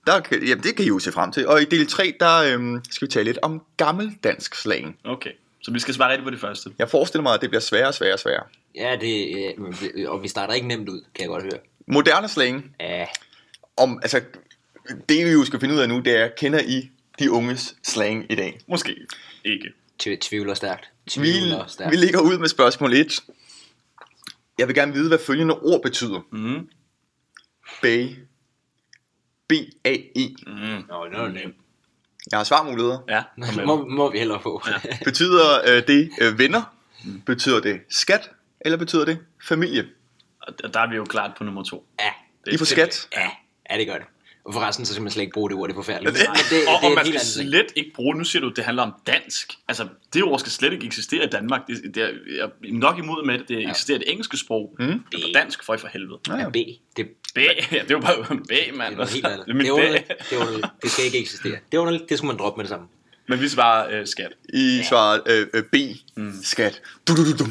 Speaker 2: Der, kan- jamen, det kan I jo se frem til. Og i del 3, der øhm, skal vi tale lidt om gammeldansk slang.
Speaker 1: okay. Så vi skal svare rigtigt på det første.
Speaker 2: Jeg forestiller mig, at det bliver sværere og sværere og sværere.
Speaker 3: Ja, det, øh, og vi starter ikke nemt ud, kan jeg godt høre.
Speaker 2: Moderne slang,
Speaker 3: Ja,
Speaker 2: om, altså, det vi jo skal finde ud af nu, det er, kender I de unges slang i dag?
Speaker 1: Måske ikke.
Speaker 3: tv- tvivler stærkt.
Speaker 2: Vi,
Speaker 3: Tvivler stærkt.
Speaker 2: vi ligger ud med spørgsmål 1. Jeg vil gerne vide, hvad følgende ord betyder.
Speaker 1: Mm.
Speaker 2: Bage. B-A-E.
Speaker 1: Mm.
Speaker 3: Nå, det var nemt.
Speaker 2: Jeg har svarmuligheder.
Speaker 1: Ja, kom med
Speaker 3: Må,
Speaker 1: dig.
Speaker 3: må vi hellere på.
Speaker 2: Betyder øh, det øh, venner? Betyder det skat? Eller betyder det familie?
Speaker 1: Og der- der er vi jo klart på nummer to.
Speaker 3: Ja,
Speaker 1: Det
Speaker 2: I på skat.
Speaker 3: ja, ja det gør det. Og forresten, så skal man slet ikke bruge det ord, det er forfærdeligt. Men
Speaker 1: Nej,
Speaker 3: det,
Speaker 1: og,
Speaker 3: det
Speaker 1: og
Speaker 3: er
Speaker 1: man
Speaker 3: en helt
Speaker 1: skal
Speaker 3: anden ting.
Speaker 1: slet ikke bruge, nu siger du, det handler om dansk. Altså, det ord skal slet ikke eksistere i Danmark. Det, det er, jeg er nok imod med, at det eksisterer i det engelske sprog. Mm. Det er på dansk, for i for helvede.
Speaker 2: Ja, ja.
Speaker 3: B, det,
Speaker 1: B, ja, det er jo bare B,
Speaker 3: det
Speaker 1: mand.
Speaker 3: er noget helt andet.
Speaker 1: Det er mit
Speaker 3: Det er underligt.
Speaker 1: B.
Speaker 3: Det, er underligt. det skal ikke eksistere. Det er underligt. Det skulle man droppe med det samme.
Speaker 1: Men vi svarer øh, skat.
Speaker 2: I svarer øh, øh, B. Skat. Du, du, du, dum.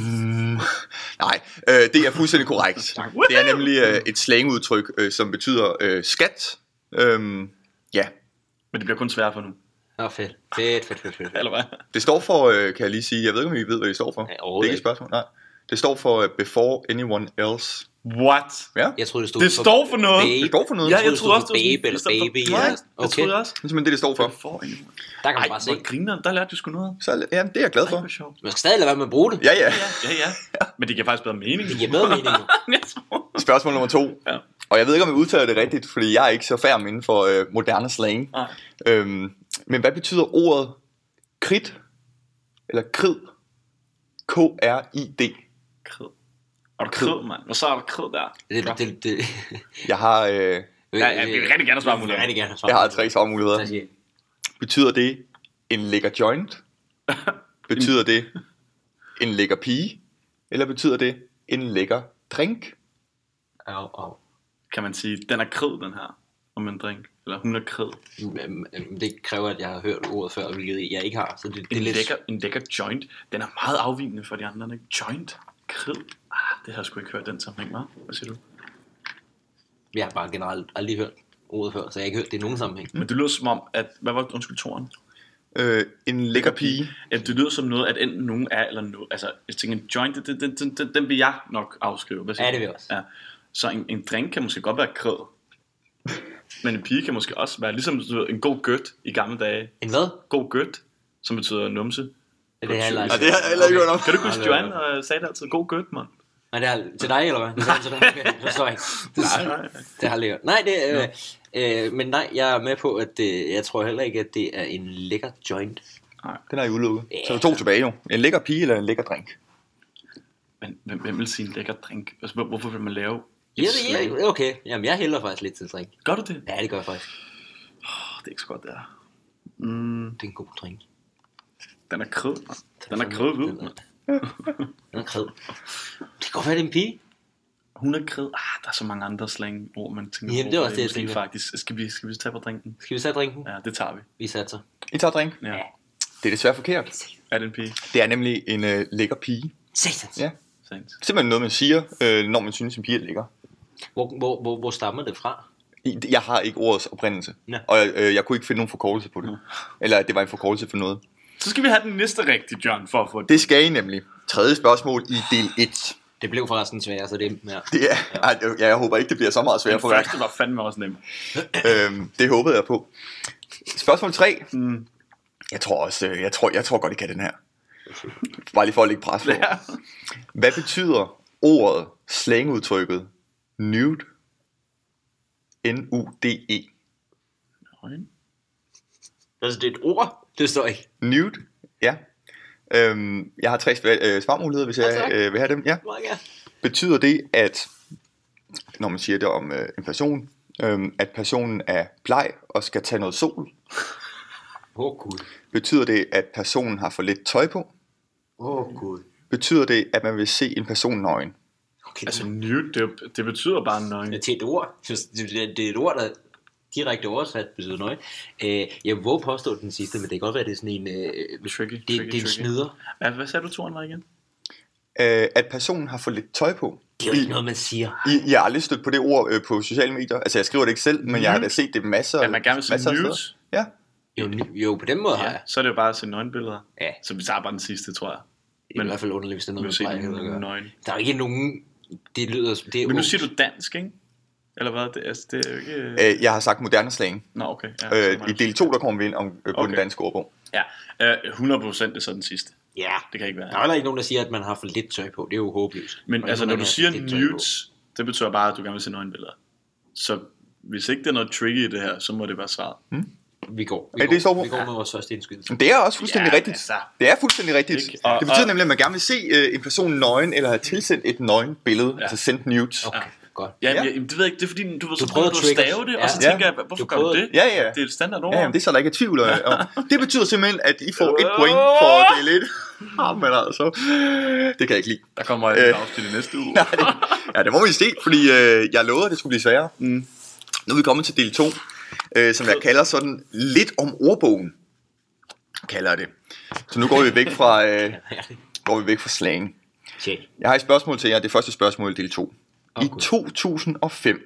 Speaker 2: Nej, øh, det er fuldstændig korrekt. Det er nemlig øh, et slangudtryk, øh, som betyder øh, skat. Øhm, ja,
Speaker 1: Men det bliver kun sværere for nu.
Speaker 3: Nå, fedt. Fedt, fedt, fedt, fedt. fedt.
Speaker 1: Eller hvad?
Speaker 2: det står for, øh, kan jeg lige sige, jeg ved ikke, om I ved, hvad det står for. det er
Speaker 3: overhovedet
Speaker 2: ikke et
Speaker 3: ikke.
Speaker 2: spørgsmål, nej. Det står for øh, Before Anyone Else.
Speaker 1: What?
Speaker 2: Ja,
Speaker 3: Jeg troede, det stod
Speaker 1: Det
Speaker 3: for
Speaker 1: står for noget.
Speaker 3: babe.
Speaker 2: det går for noget.
Speaker 1: Ja,
Speaker 2: Det
Speaker 1: jeg troede også, det var
Speaker 3: babe
Speaker 1: sådan-
Speaker 3: eller
Speaker 1: i stedet for-
Speaker 3: baby.
Speaker 1: Nej,
Speaker 3: eller-
Speaker 1: jeg
Speaker 3: Okay,
Speaker 1: troede også.
Speaker 2: er simpelthen det, det står for.
Speaker 1: For en-
Speaker 3: der kan
Speaker 1: Ej,
Speaker 3: man bare se.
Speaker 1: hvor griner der lærte du sgu noget.
Speaker 2: Så, ja, det er jeg glad
Speaker 1: Ej,
Speaker 2: for.
Speaker 1: hvor sjovt.
Speaker 3: Man skal stadig lade være med at bruge det.
Speaker 2: Ja, ja.
Speaker 1: Ja, ja, ja. Men det giver faktisk bedre mening.
Speaker 3: Det giver bedre mening nu.
Speaker 1: Jeg tror-
Speaker 2: Spørgsmål nummer to.
Speaker 1: Ja.
Speaker 2: Og jeg ved ikke, om jeg udtaler det rigtigt, fordi jeg er ikke så færm inden for øh, moderne slang.
Speaker 1: Nej.
Speaker 2: Øhm, men hvad betyder ordet kridt? Eller krid? K-R-I-D.
Speaker 1: Kred. Og der kred, mand. Og så er der kred der.
Speaker 3: Det, det, det, det.
Speaker 2: Jeg har, øh,
Speaker 1: Ja, ja, vi vil rigtig gerne svare
Speaker 3: Vi
Speaker 1: på
Speaker 3: vil
Speaker 1: det. altså
Speaker 3: Rigtig gerne svare
Speaker 2: jeg har
Speaker 3: på det.
Speaker 2: tre svarmuligheder. Betyder det en lækker joint? Betyder det en lækker pige? Eller betyder det en lækker drink?
Speaker 3: Au, au.
Speaker 1: Kan man sige, den er kred, den her. Om en drink. Eller hun er kred.
Speaker 3: Men, men Det kræver, at jeg har hørt ordet før, hvilket jeg ikke har. Så det, det
Speaker 1: En,
Speaker 3: er lidt...
Speaker 1: lækker, en lækker joint. Den er meget afvigende fra de andre. Ikke? Joint. Kred. Ah, det har jeg sgu ikke hørt den sammenhæng, hva'? Hvad siger du?
Speaker 3: Mm. Jeg har bare generelt aldrig hørt ordet før, så jeg har ikke hørt det i nogen sammenhæng.
Speaker 1: Men det lyder som om, at... Hvad var undskyld, toren?
Speaker 2: Øh, en lækker pige.
Speaker 1: Ja, det lyder som noget, at enten nogen er eller noget. Altså, jeg tænker, en joint, den, den, den, den, den vil jeg nok afskrive. Hvad siger
Speaker 3: Ja,
Speaker 1: du?
Speaker 3: det vil jeg også.
Speaker 1: Ja. Så en, en drink kan måske godt være kred. Men en pige kan måske også være ligesom du ved, en god gødt i gamle dage.
Speaker 3: En hvad?
Speaker 1: God gødt, som betyder numse.
Speaker 3: Det har jeg aldrig
Speaker 2: Ja, det har jeg heller ikke hørt om.
Speaker 1: Kan du ikke huske,
Speaker 3: Nej, det er-
Speaker 1: Joanne øh, sagde det altid? God gødt, mand.
Speaker 3: Nej, det er til dig, eller hvad? Det er til dig. Okay, det forstår jeg ikke. Det,
Speaker 1: Nej.
Speaker 3: det har jeg aldrig hørt. Nej, det er... Øh, øh, men nej, jeg er med på, at det, jeg tror heller ikke, at det er en lækker joint.
Speaker 2: Den har I udelukket.
Speaker 3: Ja.
Speaker 2: Så er der to tilbage jo. En lækker pige eller en lækker drink?
Speaker 1: Men hvem, hvem vil sige en lækker drink? Altså, hvor- hvorfor vil man lave et
Speaker 3: Jeg ved
Speaker 1: slag?
Speaker 3: ikke, okay. Jamen, jeg hælder faktisk lidt til drink.
Speaker 1: Gør du det?
Speaker 3: Ja, det gør jeg faktisk.
Speaker 1: Oh, det er ikke så godt, det er. Mm,
Speaker 3: Det er en god drink.
Speaker 1: den er kred. Den er kred ud.
Speaker 3: Den er- Den er kred. Det kan godt være, det er en pige.
Speaker 1: Hun er kred. Ah, der er så mange andre slangord, man tænker
Speaker 3: Jamen, det er
Speaker 1: over,
Speaker 3: også det, jeg
Speaker 1: måske
Speaker 3: tænker.
Speaker 1: faktisk. Skal vi, skal vi tage på drinken?
Speaker 3: Skal vi tage drinken?
Speaker 1: Ja, det tager vi.
Speaker 3: Vi satser.
Speaker 2: I tager drink.
Speaker 1: Ja.
Speaker 2: Det er desværre forkert.
Speaker 1: Er det en pige?
Speaker 2: Det er nemlig en øh, lækker pige.
Speaker 3: Satans.
Speaker 2: Ja.
Speaker 1: Sandt.
Speaker 2: Simpelthen noget, man siger, øh, når man synes, en pige er lækker.
Speaker 3: Hvor, hvor, hvor, hvor stammer det fra?
Speaker 2: I- Jeg har ikke ordets oprindelse.
Speaker 3: Ja.
Speaker 2: Og øh, jeg kunne ikke finde nogen forkortelse på det. Eller at det var en forkortelse for noget.
Speaker 1: Så skal vi have den næste rigtige, John, for at få det.
Speaker 2: Det skal I nemlig. Tredje spørgsmål i del 1.
Speaker 3: Det blev forresten svært, så det er mere.
Speaker 2: Det er, ej, det- ja, jeg håber ikke, det bliver så meget
Speaker 1: Den
Speaker 2: svært for jer.
Speaker 1: første var fandme også nem.
Speaker 2: Øhm, det håbede jeg på. Spørgsmål 3.
Speaker 1: Mm.
Speaker 2: Jeg tror også, øh, jeg tror, jeg tror godt, I kan den her. Bare lige for at lægge pres på.
Speaker 1: Ja.
Speaker 2: Hvad betyder ordet, slangudtrykket, nude? N-U-D-E.
Speaker 3: Altså, det er et ord. Det står ikke.
Speaker 2: Nude, ja. Øhm, jeg har tre sv- øh, svarmuligheder, hvis jeg
Speaker 3: tak.
Speaker 2: øh, vil have dem. Ja.
Speaker 3: Hvor er
Speaker 2: Betyder det, at når man siger det om øh, en person, øh, at personen er bleg og skal tage noget sol?
Speaker 3: Åh, oh, Gud.
Speaker 2: Betyder det, at personen har for lidt tøj på?
Speaker 3: Åh, oh, Gud.
Speaker 2: Betyder det, at man vil se en person nøgen?
Speaker 3: Okay,
Speaker 1: Altså,
Speaker 3: altså,
Speaker 1: nude, det, er jo- det betyder bare nøgen.
Speaker 3: det er et ord. Det, det, det er et ord, der direkte oversat betyder noget. Øh, jeg våger påstå den sidste, men det kan godt være, det er sådan en... Øh, det,
Speaker 1: Tricky,
Speaker 3: det,
Speaker 1: tricky,
Speaker 3: er en
Speaker 1: tricky.
Speaker 3: snyder.
Speaker 1: Ja, hvad sagde du, Toren, var igen?
Speaker 2: Øh, at personen har for lidt tøj på?
Speaker 3: Det er jo ikke noget, man siger.
Speaker 2: I, I har aldrig stødt på det ord øh, på sociale medier. Altså, jeg skriver det ikke selv, men jeg har da set det masser
Speaker 1: At man gerne vil
Speaker 2: masser
Speaker 1: se
Speaker 2: af
Speaker 1: nude,
Speaker 2: steder. Ja.
Speaker 3: Jo, ny- jo på den måde har
Speaker 1: ja,
Speaker 3: jeg.
Speaker 1: så er det jo bare at se nøgenbilleder.
Speaker 3: Ja.
Speaker 1: Så vi tager bare den sidste, tror jeg.
Speaker 3: Det er
Speaker 1: Men-
Speaker 3: i hvert fald underligt, hvis det er
Speaker 1: Vi vil
Speaker 3: noget,
Speaker 1: se
Speaker 3: man plejer at
Speaker 1: nogen
Speaker 3: gøre.
Speaker 1: nøgen.
Speaker 3: Der er ikke nogen... Det lyder... som- Det er
Speaker 1: Men nu
Speaker 3: jo-
Speaker 1: siger du dansk, ikke? Eller hvad? Det, altså, det er jo ikke... Øh...
Speaker 2: Øh, jeg har sagt moderne slang.
Speaker 1: Nå, okay. Ja, så
Speaker 2: Øh,
Speaker 1: meget.
Speaker 2: I del 2, der kommer vi ind om, øh, på okay. den
Speaker 1: Okay.
Speaker 2: danske ordbog.
Speaker 1: Ja, øh, 100 procent er så den sidste.
Speaker 3: Ja.
Speaker 1: Det kan ikke være.
Speaker 3: Der er heller ikke nogen, der siger, at man har for lidt tøj på. Det er jo håbløst.
Speaker 1: Men
Speaker 3: Og
Speaker 1: altså,
Speaker 3: ikke
Speaker 1: når
Speaker 3: nogen,
Speaker 1: du
Speaker 3: der
Speaker 1: siger
Speaker 3: har for lidt tøj på.
Speaker 1: nudes, det betyder bare, at du gerne vil se nøgenbilleder. Så hvis ikke der er noget tricky i det her, så må det være svaret.
Speaker 3: Vi går. Vi
Speaker 2: Er det
Speaker 3: går,
Speaker 2: så-
Speaker 3: vi går med vores første indskydelse.
Speaker 2: Men Det er også fuldstændig
Speaker 1: Ja,
Speaker 2: ja, rigtigt.
Speaker 1: altså.
Speaker 2: Det er fuldstændig rigtigt.
Speaker 1: Ikke? Og-
Speaker 2: Og, det betyder
Speaker 1: og-
Speaker 2: nemlig, at man gerne vil se øh, en person nøgen, eller have tilsendt et nøgen billede, ja. altså sendt nudes. Okay.
Speaker 3: Okay, godt.
Speaker 1: Ja, ja.
Speaker 2: Ja.
Speaker 1: Jeg, det ved jeg ikke, det er fordi, du, ved, så prøver
Speaker 3: Du prøvede
Speaker 1: du at
Speaker 3: at trigger.
Speaker 1: stave det, og så
Speaker 3: Ja.
Speaker 1: tænker jeg, hvorfor
Speaker 3: Du
Speaker 1: gør du
Speaker 3: prøvede-
Speaker 1: det?
Speaker 2: Ja, ja.
Speaker 1: Det er et standard ord.
Speaker 2: Ja, jamen, det er så der ikke er tvivl. Og, og det betyder simpelthen, at I får et point for det lidt. Jamen altså, det kan jeg ikke lide.
Speaker 1: Der kommer jeg
Speaker 2: Øh.
Speaker 1: øh. afsnit i næste uge.
Speaker 2: Nej. Ja, det må vi se, fordi øh, jeg lovede, at det skulle blive sværere. Mm. Nu er vi kommet til del 2, øh, som jeg kalder sådan lidt om ordbogen. Kalder jeg det. Så nu går vi væk fra, øh, går vi væk fra slang.
Speaker 3: Tjek.
Speaker 2: Jeg har et spørgsmål til jer. Det første spørgsmål i del 2. I
Speaker 3: Gud.
Speaker 2: 2005,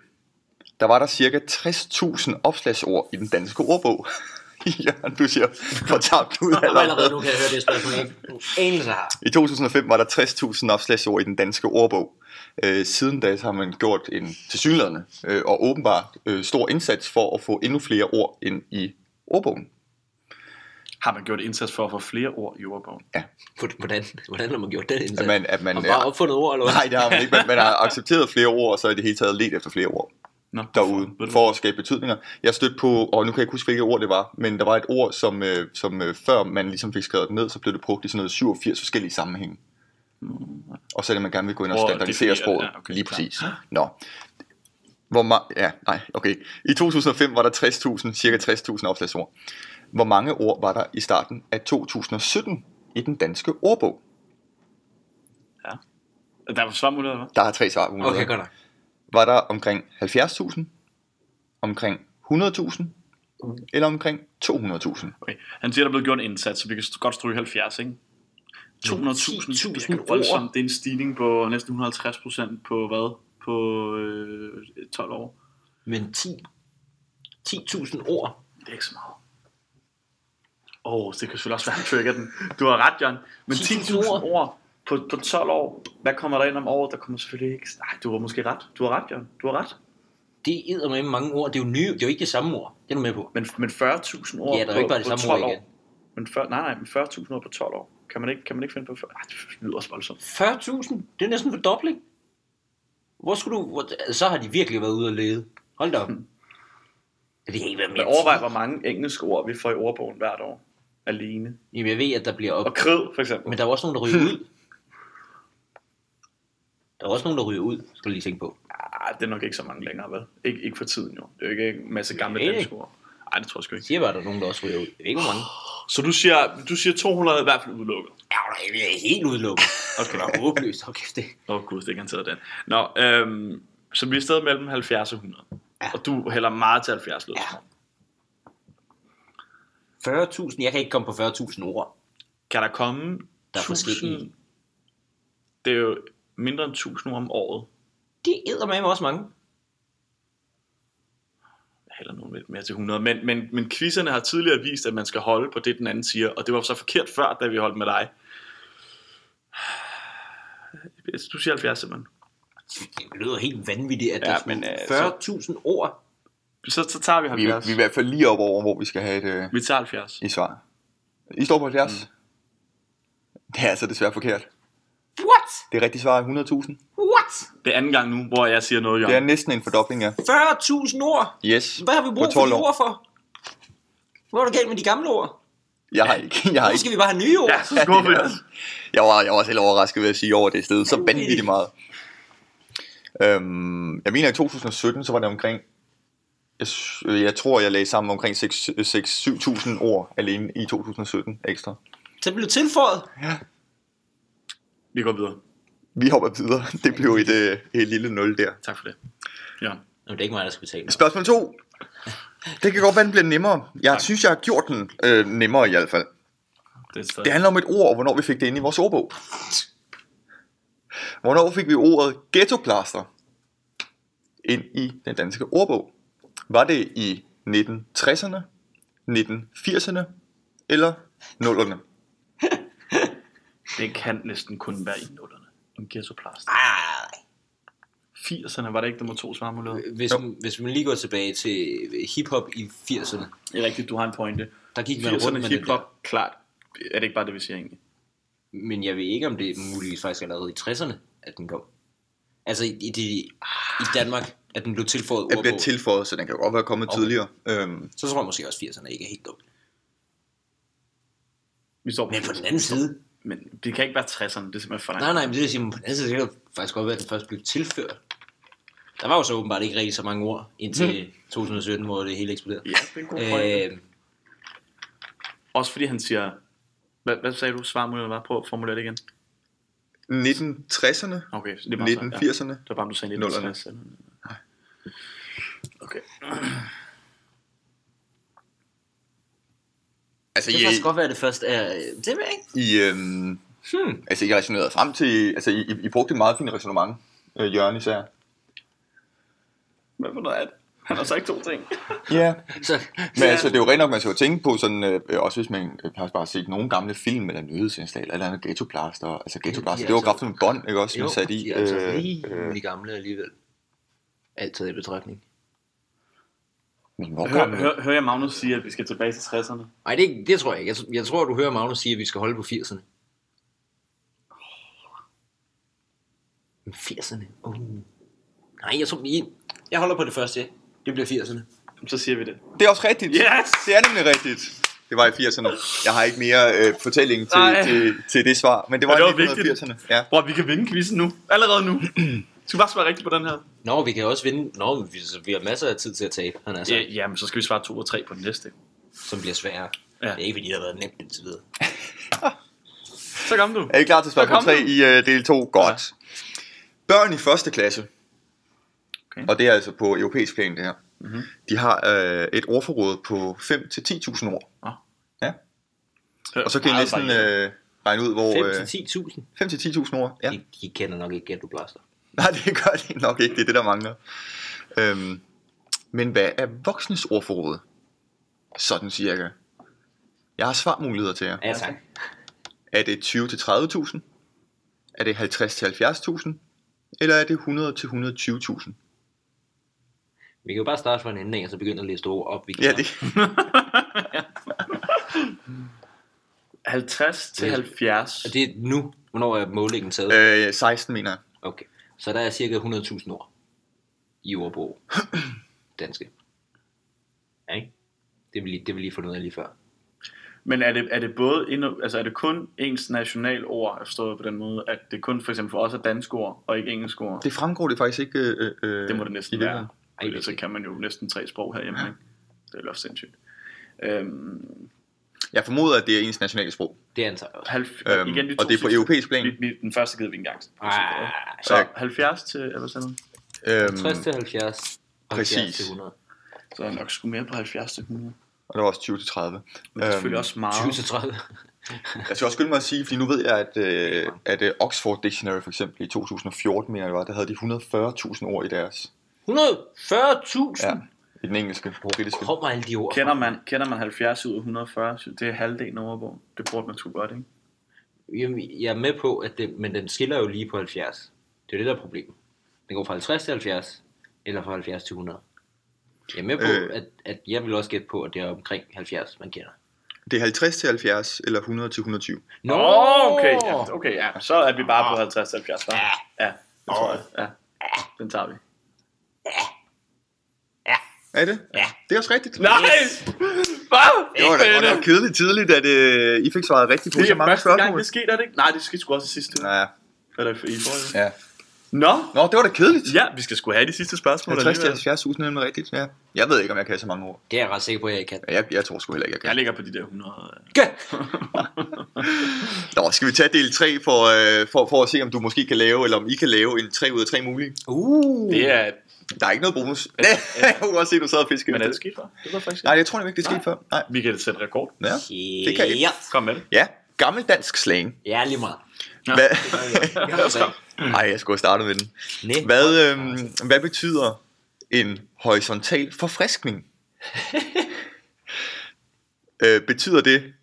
Speaker 2: der var der cirka 60.000 opslagsord i den danske ordbog. Jørgen, du siger fortabt ud
Speaker 3: Allerede
Speaker 2: allerede.
Speaker 3: nu kan jeg høre det spørgsmål. Jeg har ingen Anelse har.
Speaker 2: I 2005 var der 60.000 opslagsord i den danske ordbog. Øh, siden da så har man gjort en tilsyneladende øh, og åbenbart øh, stor indsats for at få endnu flere ord ind i ordbogen.
Speaker 1: Har man gjort indsats for at få flere ord i ordbogen?
Speaker 3: Hvor- Hvordan, hvordan har man gjort den indsats?
Speaker 2: At man, at man,
Speaker 3: har man bare opfundet ord, eller hvad?
Speaker 2: nej, det har man ikke. Man, man har accepteret flere ord, og så i det hele taget let efter flere ord
Speaker 1: Nå,
Speaker 2: derude,
Speaker 1: ved du-
Speaker 2: for at skabe betydninger. Jeg stødte på, og nu kan jeg ikke huske, hvilket ord det var, men der var et ord, som, øh, som øh, før man ligesom fik skrevet det ned, så blev det brugt i sådan noget 87 forskellige sammenhænge. Og så er det, man gerne vil gå ind og
Speaker 1: Hmm. Hvor
Speaker 2: standardisere
Speaker 1: definerer-
Speaker 2: sproget.
Speaker 1: ja, okay,
Speaker 2: Lige
Speaker 1: klar.
Speaker 2: præcis. Nå. Hvor ma- ja, nej, okay. I 2005 var der 60.000, cirka 60.000 opslagsord. Hvor mange ord var der i starten af 2017 i den danske ordbog?
Speaker 1: Der var svarmuligheder, hva'?
Speaker 2: Der er tre svar.
Speaker 3: Okay, godt nok.
Speaker 2: var der omkring 70.000, omkring 100.000 eller omkring 200.000.
Speaker 1: Okay. Han siger, der er blevet gjort en indsats, så vi kan st- godt stryge 70, ikke? 200.000
Speaker 3: 10.000
Speaker 1: Det er voldsomt. Det er en stigning på næsten 150 procent på hvad? På øh, 12 år.
Speaker 3: Men 10 10.000 ord.
Speaker 1: Det er ikke så meget. Åh, oh, det kan selvfølgelig også være, at han trigger den. Du har ret, John. Men
Speaker 3: 10.000
Speaker 1: 10.000 ord på, på 12 år. Hvad kommer der ind om året? Der kommer selvfølgelig ikke... Nej, du har måske ret. Du har ret, John. Du har ret.
Speaker 3: Det er med mange ord. Det er jo nye. Det er jo ikke det samme ord. Det er du med på.
Speaker 1: Men, men 40.000 ord
Speaker 3: Ja, der
Speaker 1: på,
Speaker 3: er jo ikke bare det
Speaker 1: på
Speaker 3: samme ord
Speaker 1: 12 år.
Speaker 3: igen.
Speaker 1: Men 40, nej, nej, men 40.000 ord på 12 år. Kan man ikke, kan man ikke finde på... 40? Ej, det lyder også voldsomt.
Speaker 3: 40.000. Det er næsten fordobling. Hvor skulle du... Hvor, så har de virkelig været ude og lede. Hold da op. Det er ikke været
Speaker 1: Hmm. Men
Speaker 3: mere
Speaker 1: overvej, hvor mange engelske ord, vi får i ordbogen hvert år. Alene.
Speaker 3: tid. Jamen, jeg ved, at der bliver op...
Speaker 1: Og Hmm. kred, for eksempel.
Speaker 3: Men der var også nogen, der ryger ud. Der var også nogen, der ryger ud, skal du lige tænke på.
Speaker 1: Ah, det er nok ikke så mange længere, vel? Ik- ikke for tiden, jo. Det er jo ikke en masse gamle
Speaker 3: Nej.
Speaker 1: danske ord. Nej, det tror jeg sgu
Speaker 3: Jeg
Speaker 1: ikke.
Speaker 3: siger bare, at der er nogen, der også ryger ud. Jeg ved ikke, hvor mange.
Speaker 1: Så du siger, du siger 200 er i hvert fald udelukket.
Speaker 3: Ja, det er helt udelukket. Okay. Det er håbløst. Hold kæft det.
Speaker 1: Åh oh, gud, det er garanteret den. Nå, øhm, så vi er stadig mellem 70 og 100.
Speaker 3: Ja.
Speaker 1: Ja. Og du hælder meget til 70 lød.
Speaker 3: Ja.
Speaker 1: Ja.
Speaker 3: 40.000. Jeg kan ikke komme på 40.000 ord.
Speaker 1: Kan der komme
Speaker 3: Der er
Speaker 1: 1000?
Speaker 3: forskellige.
Speaker 1: Det er jo mindre end 1000 om året.
Speaker 3: Det æder med også mange.
Speaker 1: Jeg hælder nogen lidt mere til 100. Men, men, men quizzerne har tidligere vist, at man skal holde på det, den anden siger. Og det var så forkert før, da vi holdt med dig. Du siger 70 simpelthen.
Speaker 3: Det lyder helt vanvittigt, at
Speaker 1: Ja,
Speaker 3: der
Speaker 1: men, øh,
Speaker 3: er 40.000 ord.
Speaker 1: Så, så tager vi
Speaker 2: Vi, er-
Speaker 1: 70.
Speaker 2: vi er i hvert fald lige op over, hvor vi skal have et, øh,
Speaker 1: vi tager 70.
Speaker 2: et svar. I står på 70. Det er altså desværre forkert.
Speaker 3: What?
Speaker 2: Det rigtige svar er 100.000.
Speaker 3: What?
Speaker 1: Det er anden gang nu, hvor jeg siger noget,
Speaker 2: Det er
Speaker 1: Jørgen.
Speaker 2: næsten en fordobling af.
Speaker 3: 40.000 ord?
Speaker 2: Yes.
Speaker 3: Hvad har vi brug
Speaker 2: På
Speaker 3: for
Speaker 2: 12
Speaker 3: de
Speaker 2: år.
Speaker 3: ord for? Hvor er du galt med de gamle ord?
Speaker 2: Jeg har ikke. Jeg har
Speaker 3: Nu
Speaker 2: ikke.
Speaker 3: skal vi bare have nye ord.
Speaker 1: Ja, så skuffer jeg.
Speaker 2: Jeg var, jeg var selv overrasket ved at sige over det sted, så vanvittigt meget. Øhm, jeg mener, i 2017, så var det omkring, jeg, s- øh, jeg tror, jeg lagde sammen omkring 6-7.000 ord alene i 2017 ekstra.
Speaker 3: Så blev tilføjet.
Speaker 1: Vi går videre.
Speaker 2: Vi hopper videre. Det blev et, øh, et lille nul der.
Speaker 1: Tak for det. Jørgen.
Speaker 3: Nå, det er ikke mig, der skal betale.
Speaker 2: Spørgsmål 2. Det kan godt være, den bliver nemmere. Jeg synes, jeg har gjort den øh, nemmere i hvert fald.
Speaker 1: Det er stadig.
Speaker 2: Det handler om et ord, og hvornår vi fik det ind i vores ordbog. Hvornår fik vi ordet ghettoplaster ind i den danske ordbog? Var det i 1960'erne, 1980'erne eller 0'erne?
Speaker 1: Det kan næsten kun være i nullerne. En ghettoplast.
Speaker 3: Ah,
Speaker 1: 80'erne var det ikke nummer to svarmulighed.
Speaker 3: hvis, hvis man lige går tilbage til hiphop i 80'erne,
Speaker 1: Det er rigtigt, du har en pointe.
Speaker 3: der gik man rundt med
Speaker 1: 80'erne
Speaker 3: det der.
Speaker 1: hiphop, klart. Er det ikke bare det, vi siger egentlig?
Speaker 3: Men jeg ved ikke, om det er muligvis faktisk allerede i 60'erne, at den kom. Altså i, i, de, i Danmark, at den blev tilføjet
Speaker 2: Det
Speaker 3: ordbog.
Speaker 2: bliver tilføjet, så den kan godt være kommet
Speaker 3: Okay.
Speaker 2: tidligere. Øhm,
Speaker 3: Så tror jeg måske også, at 80'erne ikke er helt dumt.
Speaker 1: Vi står på
Speaker 3: Men på den anden side...
Speaker 1: Men det kan ikke være 60'erne, det er simpelthen for langt.
Speaker 3: Nej, nej, men det vil sige, men på den anden side, det kan jo faktisk godt være, at den først blev tilført. Der var jo så åbenbart ikke rigtig så mange ord indtil 2017, hvor det hele eksploderede.
Speaker 1: Ja, det er en god pointe.
Speaker 3: Øh,
Speaker 1: Også fordi han siger... Hvad, hvad sagde du, svarmuligheden var? Prøv at formulere det igen.
Speaker 2: 1960'erne,
Speaker 1: Okay, så det er bare så, ja.
Speaker 2: 1980'erne.
Speaker 1: Det var bare, om du sagde
Speaker 2: Nullerne.
Speaker 1: 1960'erne. Okay.
Speaker 2: Altså
Speaker 3: det kan
Speaker 2: i,
Speaker 3: faktisk godt være, at det først er... øh, Det ved jeg ikke.
Speaker 2: i, øhm,
Speaker 3: Hmm.
Speaker 2: altså, I resonerede frem til... Altså, I, I- I brugte et meget fint resonemang, øh, Jørgen især.
Speaker 1: Hvad for noget er det? Han har sagt to ting.
Speaker 2: Ja,
Speaker 3: Så,
Speaker 2: Men ja. altså, det er jo rent nok, man skal jo tænke på, sådan, øh, øh, også hvis man øh, har bare set nogle gamle film eller nyhedsindslag, eller andet ghettoplaster, altså ghettoplaster,
Speaker 3: Ja,
Speaker 2: det var jo
Speaker 3: altså-
Speaker 2: kraftigt med bånd, ikke også,
Speaker 3: jo,
Speaker 2: man satte
Speaker 3: de
Speaker 2: i.
Speaker 3: er altså
Speaker 2: øh, øh,
Speaker 3: rimelig gamle alligevel. Altid i betragtning.
Speaker 2: men hvor
Speaker 1: Hør,
Speaker 2: gammel?
Speaker 1: hør, hører jeg Magnus sige, at vi skal tilbage til 60'erne?
Speaker 3: Nej, det, det tror jeg ikke. Jeg, jeg tror, du hører Magnus sige, at vi skal holde på 80'erne. Men 80'erne? Uh. Nej, jeg tror, vi... Jeg holder på det første. ja. Det bliver 80'erne.
Speaker 1: Så siger vi det.
Speaker 2: Det er også rigtigt.
Speaker 1: Yes!
Speaker 2: Det er nemlig rigtigt. Det var i 80'erne. Jeg har ikke mere øh, fortælling til,
Speaker 1: Nej.
Speaker 2: til, til, det svar, men det var,
Speaker 1: Ja, det var
Speaker 2: i 1980'erne. Ja.
Speaker 1: Bror, vi kan vinde quizzen nu. Allerede nu. Du skal bare svare rigtigt på den her.
Speaker 3: Nå, vi kan også vinde. Nå, men vi, så vi har masser af tid til at tabe, han altså,
Speaker 1: Ja,
Speaker 3: yeah.
Speaker 1: jamen, så skal vi svare 2 og 3 på den næste.
Speaker 3: som bliver sværere.
Speaker 1: Ja.
Speaker 3: Ja. Det er ikke, fordi det har været nemt indtil videre.
Speaker 1: Så kom du.
Speaker 2: Er I klar til spørgsmål
Speaker 1: kom
Speaker 2: 3
Speaker 1: den.
Speaker 2: i øh, del 2? Godt. Børn i første klasse,
Speaker 1: Okay.
Speaker 2: og det er altså på europæisk plan det her, mm-hmm. de har øh, et ordforråd på 5-10.000 ord. Og så kan I
Speaker 1: Meget
Speaker 2: næsten
Speaker 1: varieret.
Speaker 2: øh, regne ud, hvor...
Speaker 3: 5-10.000.
Speaker 2: 5-10.000 ord, ja.
Speaker 3: Ja. I, I kender nok ikke Ghetto Blaster.
Speaker 2: Nej, det gør det nok ikke. Det er det, der mangler. Øhm, men hvad er voksnes ordforråd? Sådan cirka. Jeg har svarmuligheder til jer.
Speaker 3: Ja, tak.
Speaker 2: Er det 20-30.000? Er det 50-70.000? Eller er det 100-120.000?
Speaker 3: Vi kan jo bare starte fra en ende af, og så begynde at læse ord op. Vi
Speaker 2: Ja, det,
Speaker 1: 50 til
Speaker 3: Det-
Speaker 1: 70.
Speaker 3: Og det er nu. Hvornår er målingen taget?
Speaker 2: øh, 16 mener jeg.
Speaker 3: Okay. Så der er cirka 100.000 ord i ordbog. Danske. Ja, ikke? Det vil, det vil lige fundet ud af lige før.
Speaker 1: Men er det, er det både endnu, altså er det kun ens national ord, forstået på den måde, at det kun for eksempel for os er dansk ord, og ikke engelsk ord? Det,
Speaker 2: Det fremgår det faktisk ikke. Øh, øh,
Speaker 1: det må det næsten
Speaker 2: i her.
Speaker 1: være.
Speaker 3: Ej,
Speaker 1: Ej, så
Speaker 3: det-
Speaker 1: kan man jo næsten tre sprog herhjemme, ikke? Det er jo også sindssygt. Øhm,
Speaker 2: Jeg formoder, at det er ens nationale sprog.
Speaker 3: Det antager jeg også.
Speaker 1: halv,
Speaker 2: Øhm,
Speaker 1: igen, de to
Speaker 2: og det er på
Speaker 1: sidste.
Speaker 2: europæisk plan.
Speaker 1: Vi, vi, den første gider vi ikke engang.
Speaker 3: Ej,
Speaker 1: Så
Speaker 2: Ja.
Speaker 1: 70 til, eller hvad sagde du?
Speaker 2: Øhm,
Speaker 3: 60 til 70. og 70
Speaker 2: Præcis.
Speaker 3: til 100.
Speaker 1: Så er jeg nok sgu mere på 70 til 100.
Speaker 2: og der var også 20 til 30.
Speaker 1: Men det er selvfølgelig også
Speaker 3: 20
Speaker 1: meget.
Speaker 3: til 30.
Speaker 2: Jeg skal også skynde mig at sige, fordi nu ved jeg, at, øh, at øh, Oxford Dictionary for eksempel i 2014, mener jeg det var, der havde de 140.000 ord i deres.
Speaker 3: 140.000!
Speaker 2: Ja,
Speaker 3: Ja.
Speaker 2: i den engelske, britiske.
Speaker 3: Kommer alle de ord.
Speaker 1: Kender
Speaker 3: fra?
Speaker 1: man, kender man 70 ud af 140, så det er halvdelen af ordbogen. Det burde man sgu godt, ikke?
Speaker 3: Jamen, jeg er med på, at det, men den skiller jo lige på 70. Det er jo det, der er problemet. Den går fra 50 til 70, eller fra 70 til 100. Jeg er med på,
Speaker 2: Øh.
Speaker 3: øh. at, at jeg vil også gætte på, at det er omkring 70, man kender.
Speaker 2: Det er 50 til 70, eller 100 til 120.
Speaker 3: Nå,
Speaker 1: Åh, okay, ja, okay, ja. Så er vi bare på 50 70, hva'? Ja, det tror jeg. Ja. Den tager vi.
Speaker 2: Er det? Ja. Det er også rigtigt.
Speaker 1: Hvad?
Speaker 2: Det var da godt nok kedeligt tidligt, at øh, I fik svaret rigtigt på
Speaker 1: Det
Speaker 2: så
Speaker 1: er
Speaker 2: mange
Speaker 1: første
Speaker 2: spørgsmål.
Speaker 1: gang, det skete, er det ikke? Nej, det skete sgu også i sidste uge.
Speaker 2: Ja.
Speaker 1: Eller i i forrige uge.
Speaker 2: ja.
Speaker 1: Nå,
Speaker 2: Nå, det var da kedeligt.
Speaker 1: ja, vi skal sgu have de sidste spørgsmål
Speaker 2: 50 til
Speaker 1: alligevel.
Speaker 2: 70.000 er nemlig rigtigt, ja. Jeg ved ikke, om jeg kan så mange ord.
Speaker 3: Det er jeg ret sikker på, at jeg ikke kan.
Speaker 2: Ja, Jeg, jeg tror sgu heller ikke, jeg
Speaker 1: Jeg
Speaker 2: kan.
Speaker 1: ligger på de der 100.
Speaker 3: Gæt!
Speaker 2: Nå, skal vi tage del 3 for, øh, for, for at se, om du måske kan lave, eller om I kan lave en 3 ud af 3 mulige?
Speaker 3: Uh,
Speaker 1: Det er,
Speaker 2: Der er ikke noget bonus. jeg kunne godt se, at du sad og fiskede.
Speaker 1: men er det
Speaker 2: efter
Speaker 1: sket for? Det var faktisk
Speaker 2: det. Nej, jeg tror nemlig ikke, det skete før. Nej.
Speaker 1: Vi kan sætte rekord.
Speaker 2: Ja.
Speaker 3: shit.
Speaker 2: det kan jeg.
Speaker 1: Kom med det.
Speaker 2: ja. Gammel dansk slang.
Speaker 3: Ja, lige meget.
Speaker 2: Hvad...
Speaker 3: Okay.
Speaker 2: Ej, jeg skulle have startet med den.
Speaker 3: Nej.
Speaker 2: Hvad, øhm, hvad betyder en horisontal forfriskning? øh, betyder det...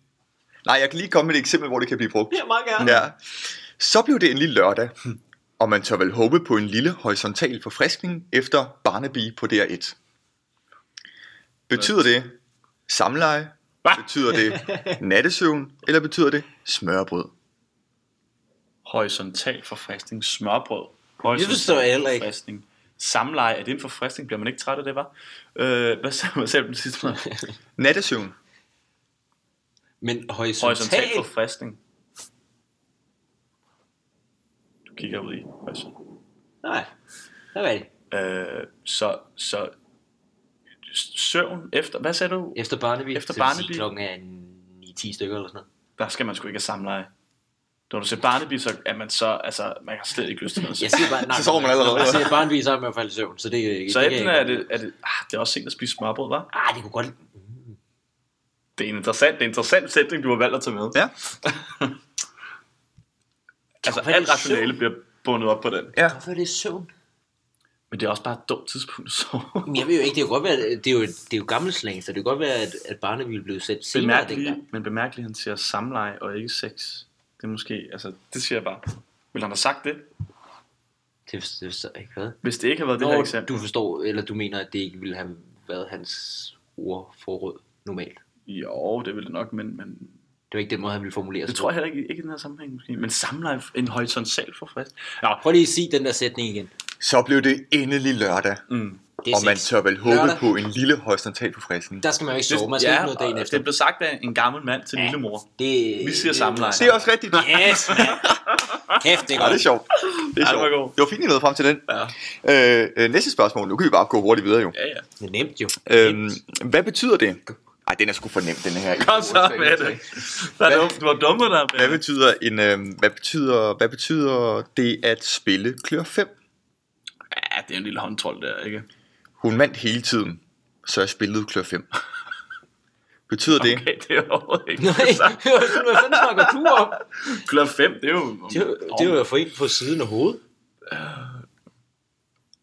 Speaker 2: Nej, jeg kan lige komme med et eksempel, hvor det kan blive brugt.
Speaker 3: Det er meget gerne.
Speaker 2: Ja. Så blev det en lille lørdag, og man tør vel håbe på en lille horisontal forfriskning efter Barnaby på DR1. Betyder det samleje?
Speaker 1: Hva?
Speaker 2: Betyder det nattesøvn? Eller betyder det smørbrød?
Speaker 1: Horisontal forfriskning. Smørbrød.
Speaker 3: forstår jeg heller ikke.
Speaker 1: Forfriskning. Samleje. Er det en forfriskning? Bliver man ikke træt af det, var? Øh, hvad sagde man selv den sidste måde?
Speaker 2: Nattesøvn.
Speaker 3: Men horisontal,
Speaker 1: Horisontal forfriskning. Du kigger ud i. Altså.
Speaker 3: Nej, det er rigtigt.
Speaker 1: Øh, så, så søvn efter, hvad sagde du?
Speaker 3: Efter Barneby.
Speaker 1: Efter
Speaker 3: så vil sige,
Speaker 1: Barnaby.
Speaker 3: Klokken er en- i 10 stykker eller sådan noget.
Speaker 1: Der skal man sgu ikke have samleje. Når du ser Barnaby, så er man så, altså, man har slet ikke lyst til noget.
Speaker 3: Jeg siger bare, nej,
Speaker 2: Så sover man allerede.
Speaker 3: Jeg siger bare en vis om at falde i søvn, så det, det
Speaker 1: Så
Speaker 3: kan
Speaker 1: enten
Speaker 3: jeg
Speaker 1: er
Speaker 3: ikke.
Speaker 1: det, er det, ah, det er også sent at spise smørbrød, hva'?
Speaker 3: Ah, det kunne godt...
Speaker 1: Det er en interessant, det er en interessant sætning, du har valgt at tage med.
Speaker 2: Ja.
Speaker 1: altså,
Speaker 3: Hvad er
Speaker 1: alt
Speaker 3: det,
Speaker 1: rationale bliver bundet op på den.
Speaker 2: Ja.
Speaker 3: Hvorfor er det søvn?
Speaker 1: Men det er også bare et dumt tidspunkt at sove.
Speaker 3: Men jeg ved jo ikke, det kan godt være, det er jo, det er jo gammel slang, så det kan godt være, at, at Barnaby blev sendt senere
Speaker 1: Bemærk
Speaker 3: dengang.
Speaker 1: lige, men bemærk lige, han siger samleje og ikke sex. Det er måske, altså, det siger jeg bare. Vil han have sagt det,
Speaker 3: Det forstår jeg ikke, hvad?
Speaker 1: hvis det ikke har været det her
Speaker 3: Når
Speaker 1: eksempel?
Speaker 3: du forstår, eller du mener, at det ikke ville have været hans ordforråd normalt.
Speaker 1: Jo, det ville det nok, men, men
Speaker 3: Det var ikke den måde, han ville formulere
Speaker 1: Det
Speaker 3: sig
Speaker 1: tror jeg
Speaker 3: på.
Speaker 1: heller ikke, ikke i den her sammenhæng måske. Men samler en horisontal forfriskning. Ja,
Speaker 3: Prøv lige at sige den der sætning igen.
Speaker 2: Så blev det endelig lørdag,
Speaker 1: mm.
Speaker 3: Det er
Speaker 2: og man
Speaker 3: sex.
Speaker 2: tør vel håbe
Speaker 3: Lørdag.
Speaker 2: på en lille horisontal forfriskning.
Speaker 3: Der skal man jo ikke sove, man skal
Speaker 1: ja,
Speaker 3: ikke noget dagen
Speaker 1: og
Speaker 3: efter.
Speaker 1: Det blev sagt af en gammel mand til ja. lillemor.
Speaker 3: Det,
Speaker 1: Vi siger samleje.
Speaker 2: Det er også rigtigt.
Speaker 3: Yes, man. Kæft, det er
Speaker 2: Ja, det
Speaker 3: godt.
Speaker 2: er sjovt. Det er
Speaker 1: Ej,
Speaker 2: sjovt.
Speaker 1: hvor god.
Speaker 2: Det var fint, I nåede frem til den.
Speaker 1: Ja.
Speaker 2: Øh, øh, næste spørgsmål. Nu kan vi bare gå hurtigt videre jo.
Speaker 1: Ja, ja.
Speaker 3: Det er nemt jo.
Speaker 2: Øhm, hvad betyder det? Ej, den er sgu for nem, den her.
Speaker 1: Kom så med det. Hvad er dum- Du var dumme der.
Speaker 2: Hvad betyder, en, øh, hvad, betyder, hvad betyder det at spille klør 5?
Speaker 1: Ja, det er en lille håndtrold der, ikke?
Speaker 2: Hun vandt hele tiden, så jeg spillede klør 5. Betyder det?
Speaker 1: Okay, det er overhovedet ikke.
Speaker 3: Nej, hvad fanden snakker du om?
Speaker 1: Klub 5, det er jo...
Speaker 3: Det er jo- det er jo at få en på siden af hovedet.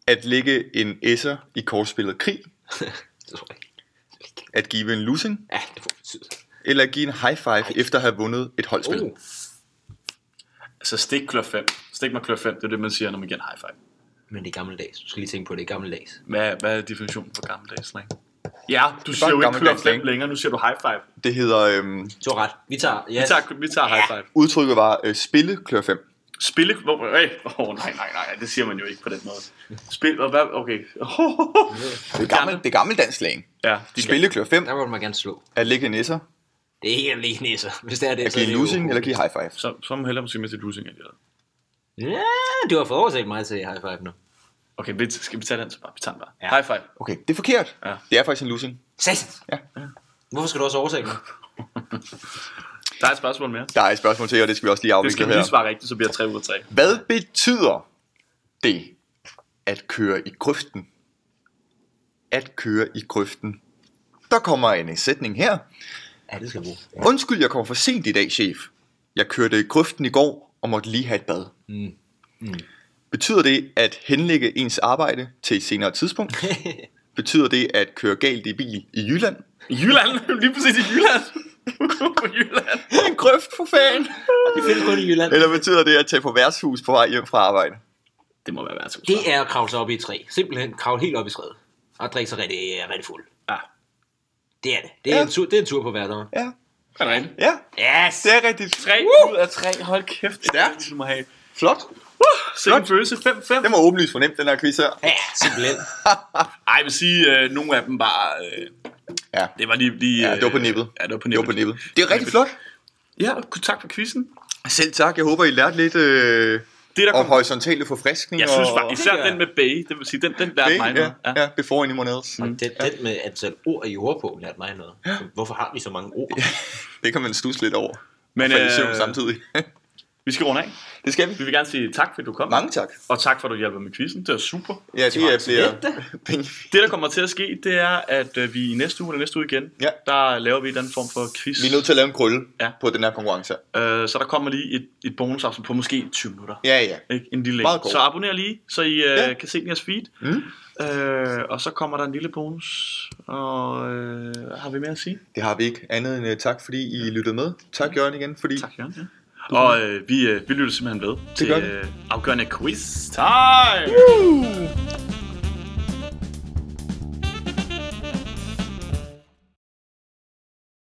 Speaker 2: At ligge en esser i kortspillet krig?
Speaker 3: Det tror jeg ikke.
Speaker 2: At give en losing?
Speaker 3: Ja, det får betydning.
Speaker 2: Eller at give en high five efter at have vundet et holdspil?
Speaker 3: Uh,
Speaker 1: Altså stik klub 5. Stik mig klub 5, det er det, man siger, når man giver en high five.
Speaker 3: men det er gammeldags. Du skal lige tænke på, at det er gammeldags.
Speaker 1: Hvad, hvad er definitionen på gammeldags slang? Ja, du siger jo ikke klub
Speaker 2: gammeldags
Speaker 1: 5
Speaker 2: slang.
Speaker 1: længere, nu siger du high five.
Speaker 2: Det hedder... Øh,
Speaker 3: Du har ret. Vi tager,
Speaker 1: Vi
Speaker 3: yes.
Speaker 1: tager, vi tager high five.
Speaker 2: udtrykket var øh, spille klør 5.
Speaker 1: Spille... Hvor, øh, oh, nej, nej, nej, det siger man jo ikke på den måde. Spil... og Hvad, okay.
Speaker 2: Det er gammel, det er gammeldansk slang.
Speaker 1: ja, de
Speaker 2: Spille klør 5,
Speaker 3: Der må man gerne slå.
Speaker 2: at ligge nisser,
Speaker 3: Det er ikke at ligge næser. Hvis det er det,
Speaker 2: at give
Speaker 3: det jo-
Speaker 2: losing eller give high five.
Speaker 1: Så, så må hellere måske med til losing end de andre.
Speaker 3: Ja, du har fået overtalt mig til high five nu.
Speaker 1: Okay, vent, skal vi tage den så bare? Vi tager den bare.
Speaker 3: Ja.
Speaker 1: High five.
Speaker 2: Okay, det er forkert.
Speaker 1: Ja.
Speaker 2: Det er faktisk en losing.
Speaker 3: Sæt!
Speaker 2: Ja.
Speaker 3: Hvorfor skal du også overtale mig?
Speaker 1: Der er et spørgsmål mere.
Speaker 2: Der er et spørgsmål til, og det skal vi også lige
Speaker 1: Det
Speaker 2: afvikle
Speaker 1: skal vi
Speaker 2: her.
Speaker 1: lige svare rigtigt, så bliver det 3 ud af 3.
Speaker 2: Hvad betyder det at køre i grøften? At køre i grøften. Der kommer en sætning her.
Speaker 3: Ja, det skal vi.
Speaker 2: Undskyld, jeg kommer for sent i dag, chef. Jeg kørte i grøften i går og måtte lige have et bad.
Speaker 3: Mm.
Speaker 2: Betyder det at henlægge ens arbejde til et senere tidspunkt? Betyder det at køre galt i bil i Jylland?
Speaker 1: I Jylland? lige præcis i Jylland. på Jylland.
Speaker 2: En grøft for fanden!
Speaker 3: Det findes kun i Jylland.
Speaker 2: Eller betyder det at tage på værtshus på vej hjem fra arbejde?
Speaker 1: Det må være værd til.
Speaker 3: Det er at kravle sig op i et træ. Simpelthen kravle helt op i træet. Og drikke sig rigtig, øh, rigtig fuld.
Speaker 1: Ja.
Speaker 3: Det er det. Det er,
Speaker 2: Ja.
Speaker 3: en, tur, det er en tur på hverdagen.
Speaker 2: Ja,
Speaker 1: Er det rigtigt?
Speaker 2: ja,
Speaker 3: Yes!
Speaker 2: det er rigtigt.
Speaker 1: 3 ud af 3. Hold kæft.
Speaker 2: Stærkt.
Speaker 1: Det er, du må have.
Speaker 2: Flot.
Speaker 1: Sikke en følelse. 5-5.
Speaker 2: Den var åbenlyst fornemt, den her quiz her.
Speaker 3: Ja, simpelthen.
Speaker 2: Mm.
Speaker 1: Ej, jeg vil sige, øh, nogle af dem bare... Øh,
Speaker 2: Ja.
Speaker 1: det var lige... lige
Speaker 2: Ja, det var på
Speaker 1: øh,
Speaker 2: nippet.
Speaker 1: Ja, det var på
Speaker 2: Det
Speaker 1: nippet.
Speaker 2: var på nippet. Det er rigtig flot.
Speaker 1: Ja, og tak for quizzen.
Speaker 2: Selv tak. Jeg håber, I lærte lidt øh,
Speaker 1: Det, der
Speaker 2: om
Speaker 1: kom,
Speaker 2: horisontale forfriskninger.
Speaker 1: jeg synes
Speaker 2: og-
Speaker 1: faktisk, især
Speaker 3: Det er-
Speaker 1: den med Bay, det vil sige, den, den lærte
Speaker 2: Okay,
Speaker 1: mig
Speaker 2: ja,
Speaker 1: noget. Ja. Mm.
Speaker 2: ja, before anyone else.
Speaker 3: Og den, den med antal ord i ordbogen lærte mig noget. Hvorfor har vi så mange ord?
Speaker 2: Det kan man stusse lidt over.
Speaker 1: Men
Speaker 2: Men, og falde i søvn
Speaker 1: øh,
Speaker 2: samtidig.
Speaker 1: vi skal runde af.
Speaker 2: det skal vi.
Speaker 1: Vi vil gerne sige tak, fordi du kom.
Speaker 2: Mange tak.
Speaker 1: Og tak for, at du hjælper med quizzen. Det var super.
Speaker 2: Ja, det er flere
Speaker 3: Fedt, da.
Speaker 2: penge.
Speaker 1: Det, der kommer til at ske, det er, at øh, vi i næste uge eller næste uge igen,
Speaker 2: Ja.
Speaker 1: der laver vi en eller anden form for quiz.
Speaker 2: Vi er nødt til at lave en krølle
Speaker 1: Ja.
Speaker 2: på den her konkurrence. her.
Speaker 1: øh, så der kommer lige et, et bonusafsnit på måske 20 minutter.
Speaker 2: Ja, ja.
Speaker 1: Ikke? En lille
Speaker 2: Meget
Speaker 1: en.
Speaker 2: god.
Speaker 1: Så abonner lige, så I øh,
Speaker 2: Ja.
Speaker 1: kan se den i jeres feed.
Speaker 2: Mm.
Speaker 1: Øh, og så kommer der en lille bonus. Og øh, har vi mere at sige?
Speaker 2: Det har vi ikke andet end øh, tak, fordi I lyttede med. Tak, Jørgen, igen, fordi...
Speaker 1: Tak, Jørgen. Ja. Og øh, vi, øh, vi lytter simpelthen ved til
Speaker 2: gør vi.
Speaker 1: øh, afgørende quiz time!
Speaker 2: Woo!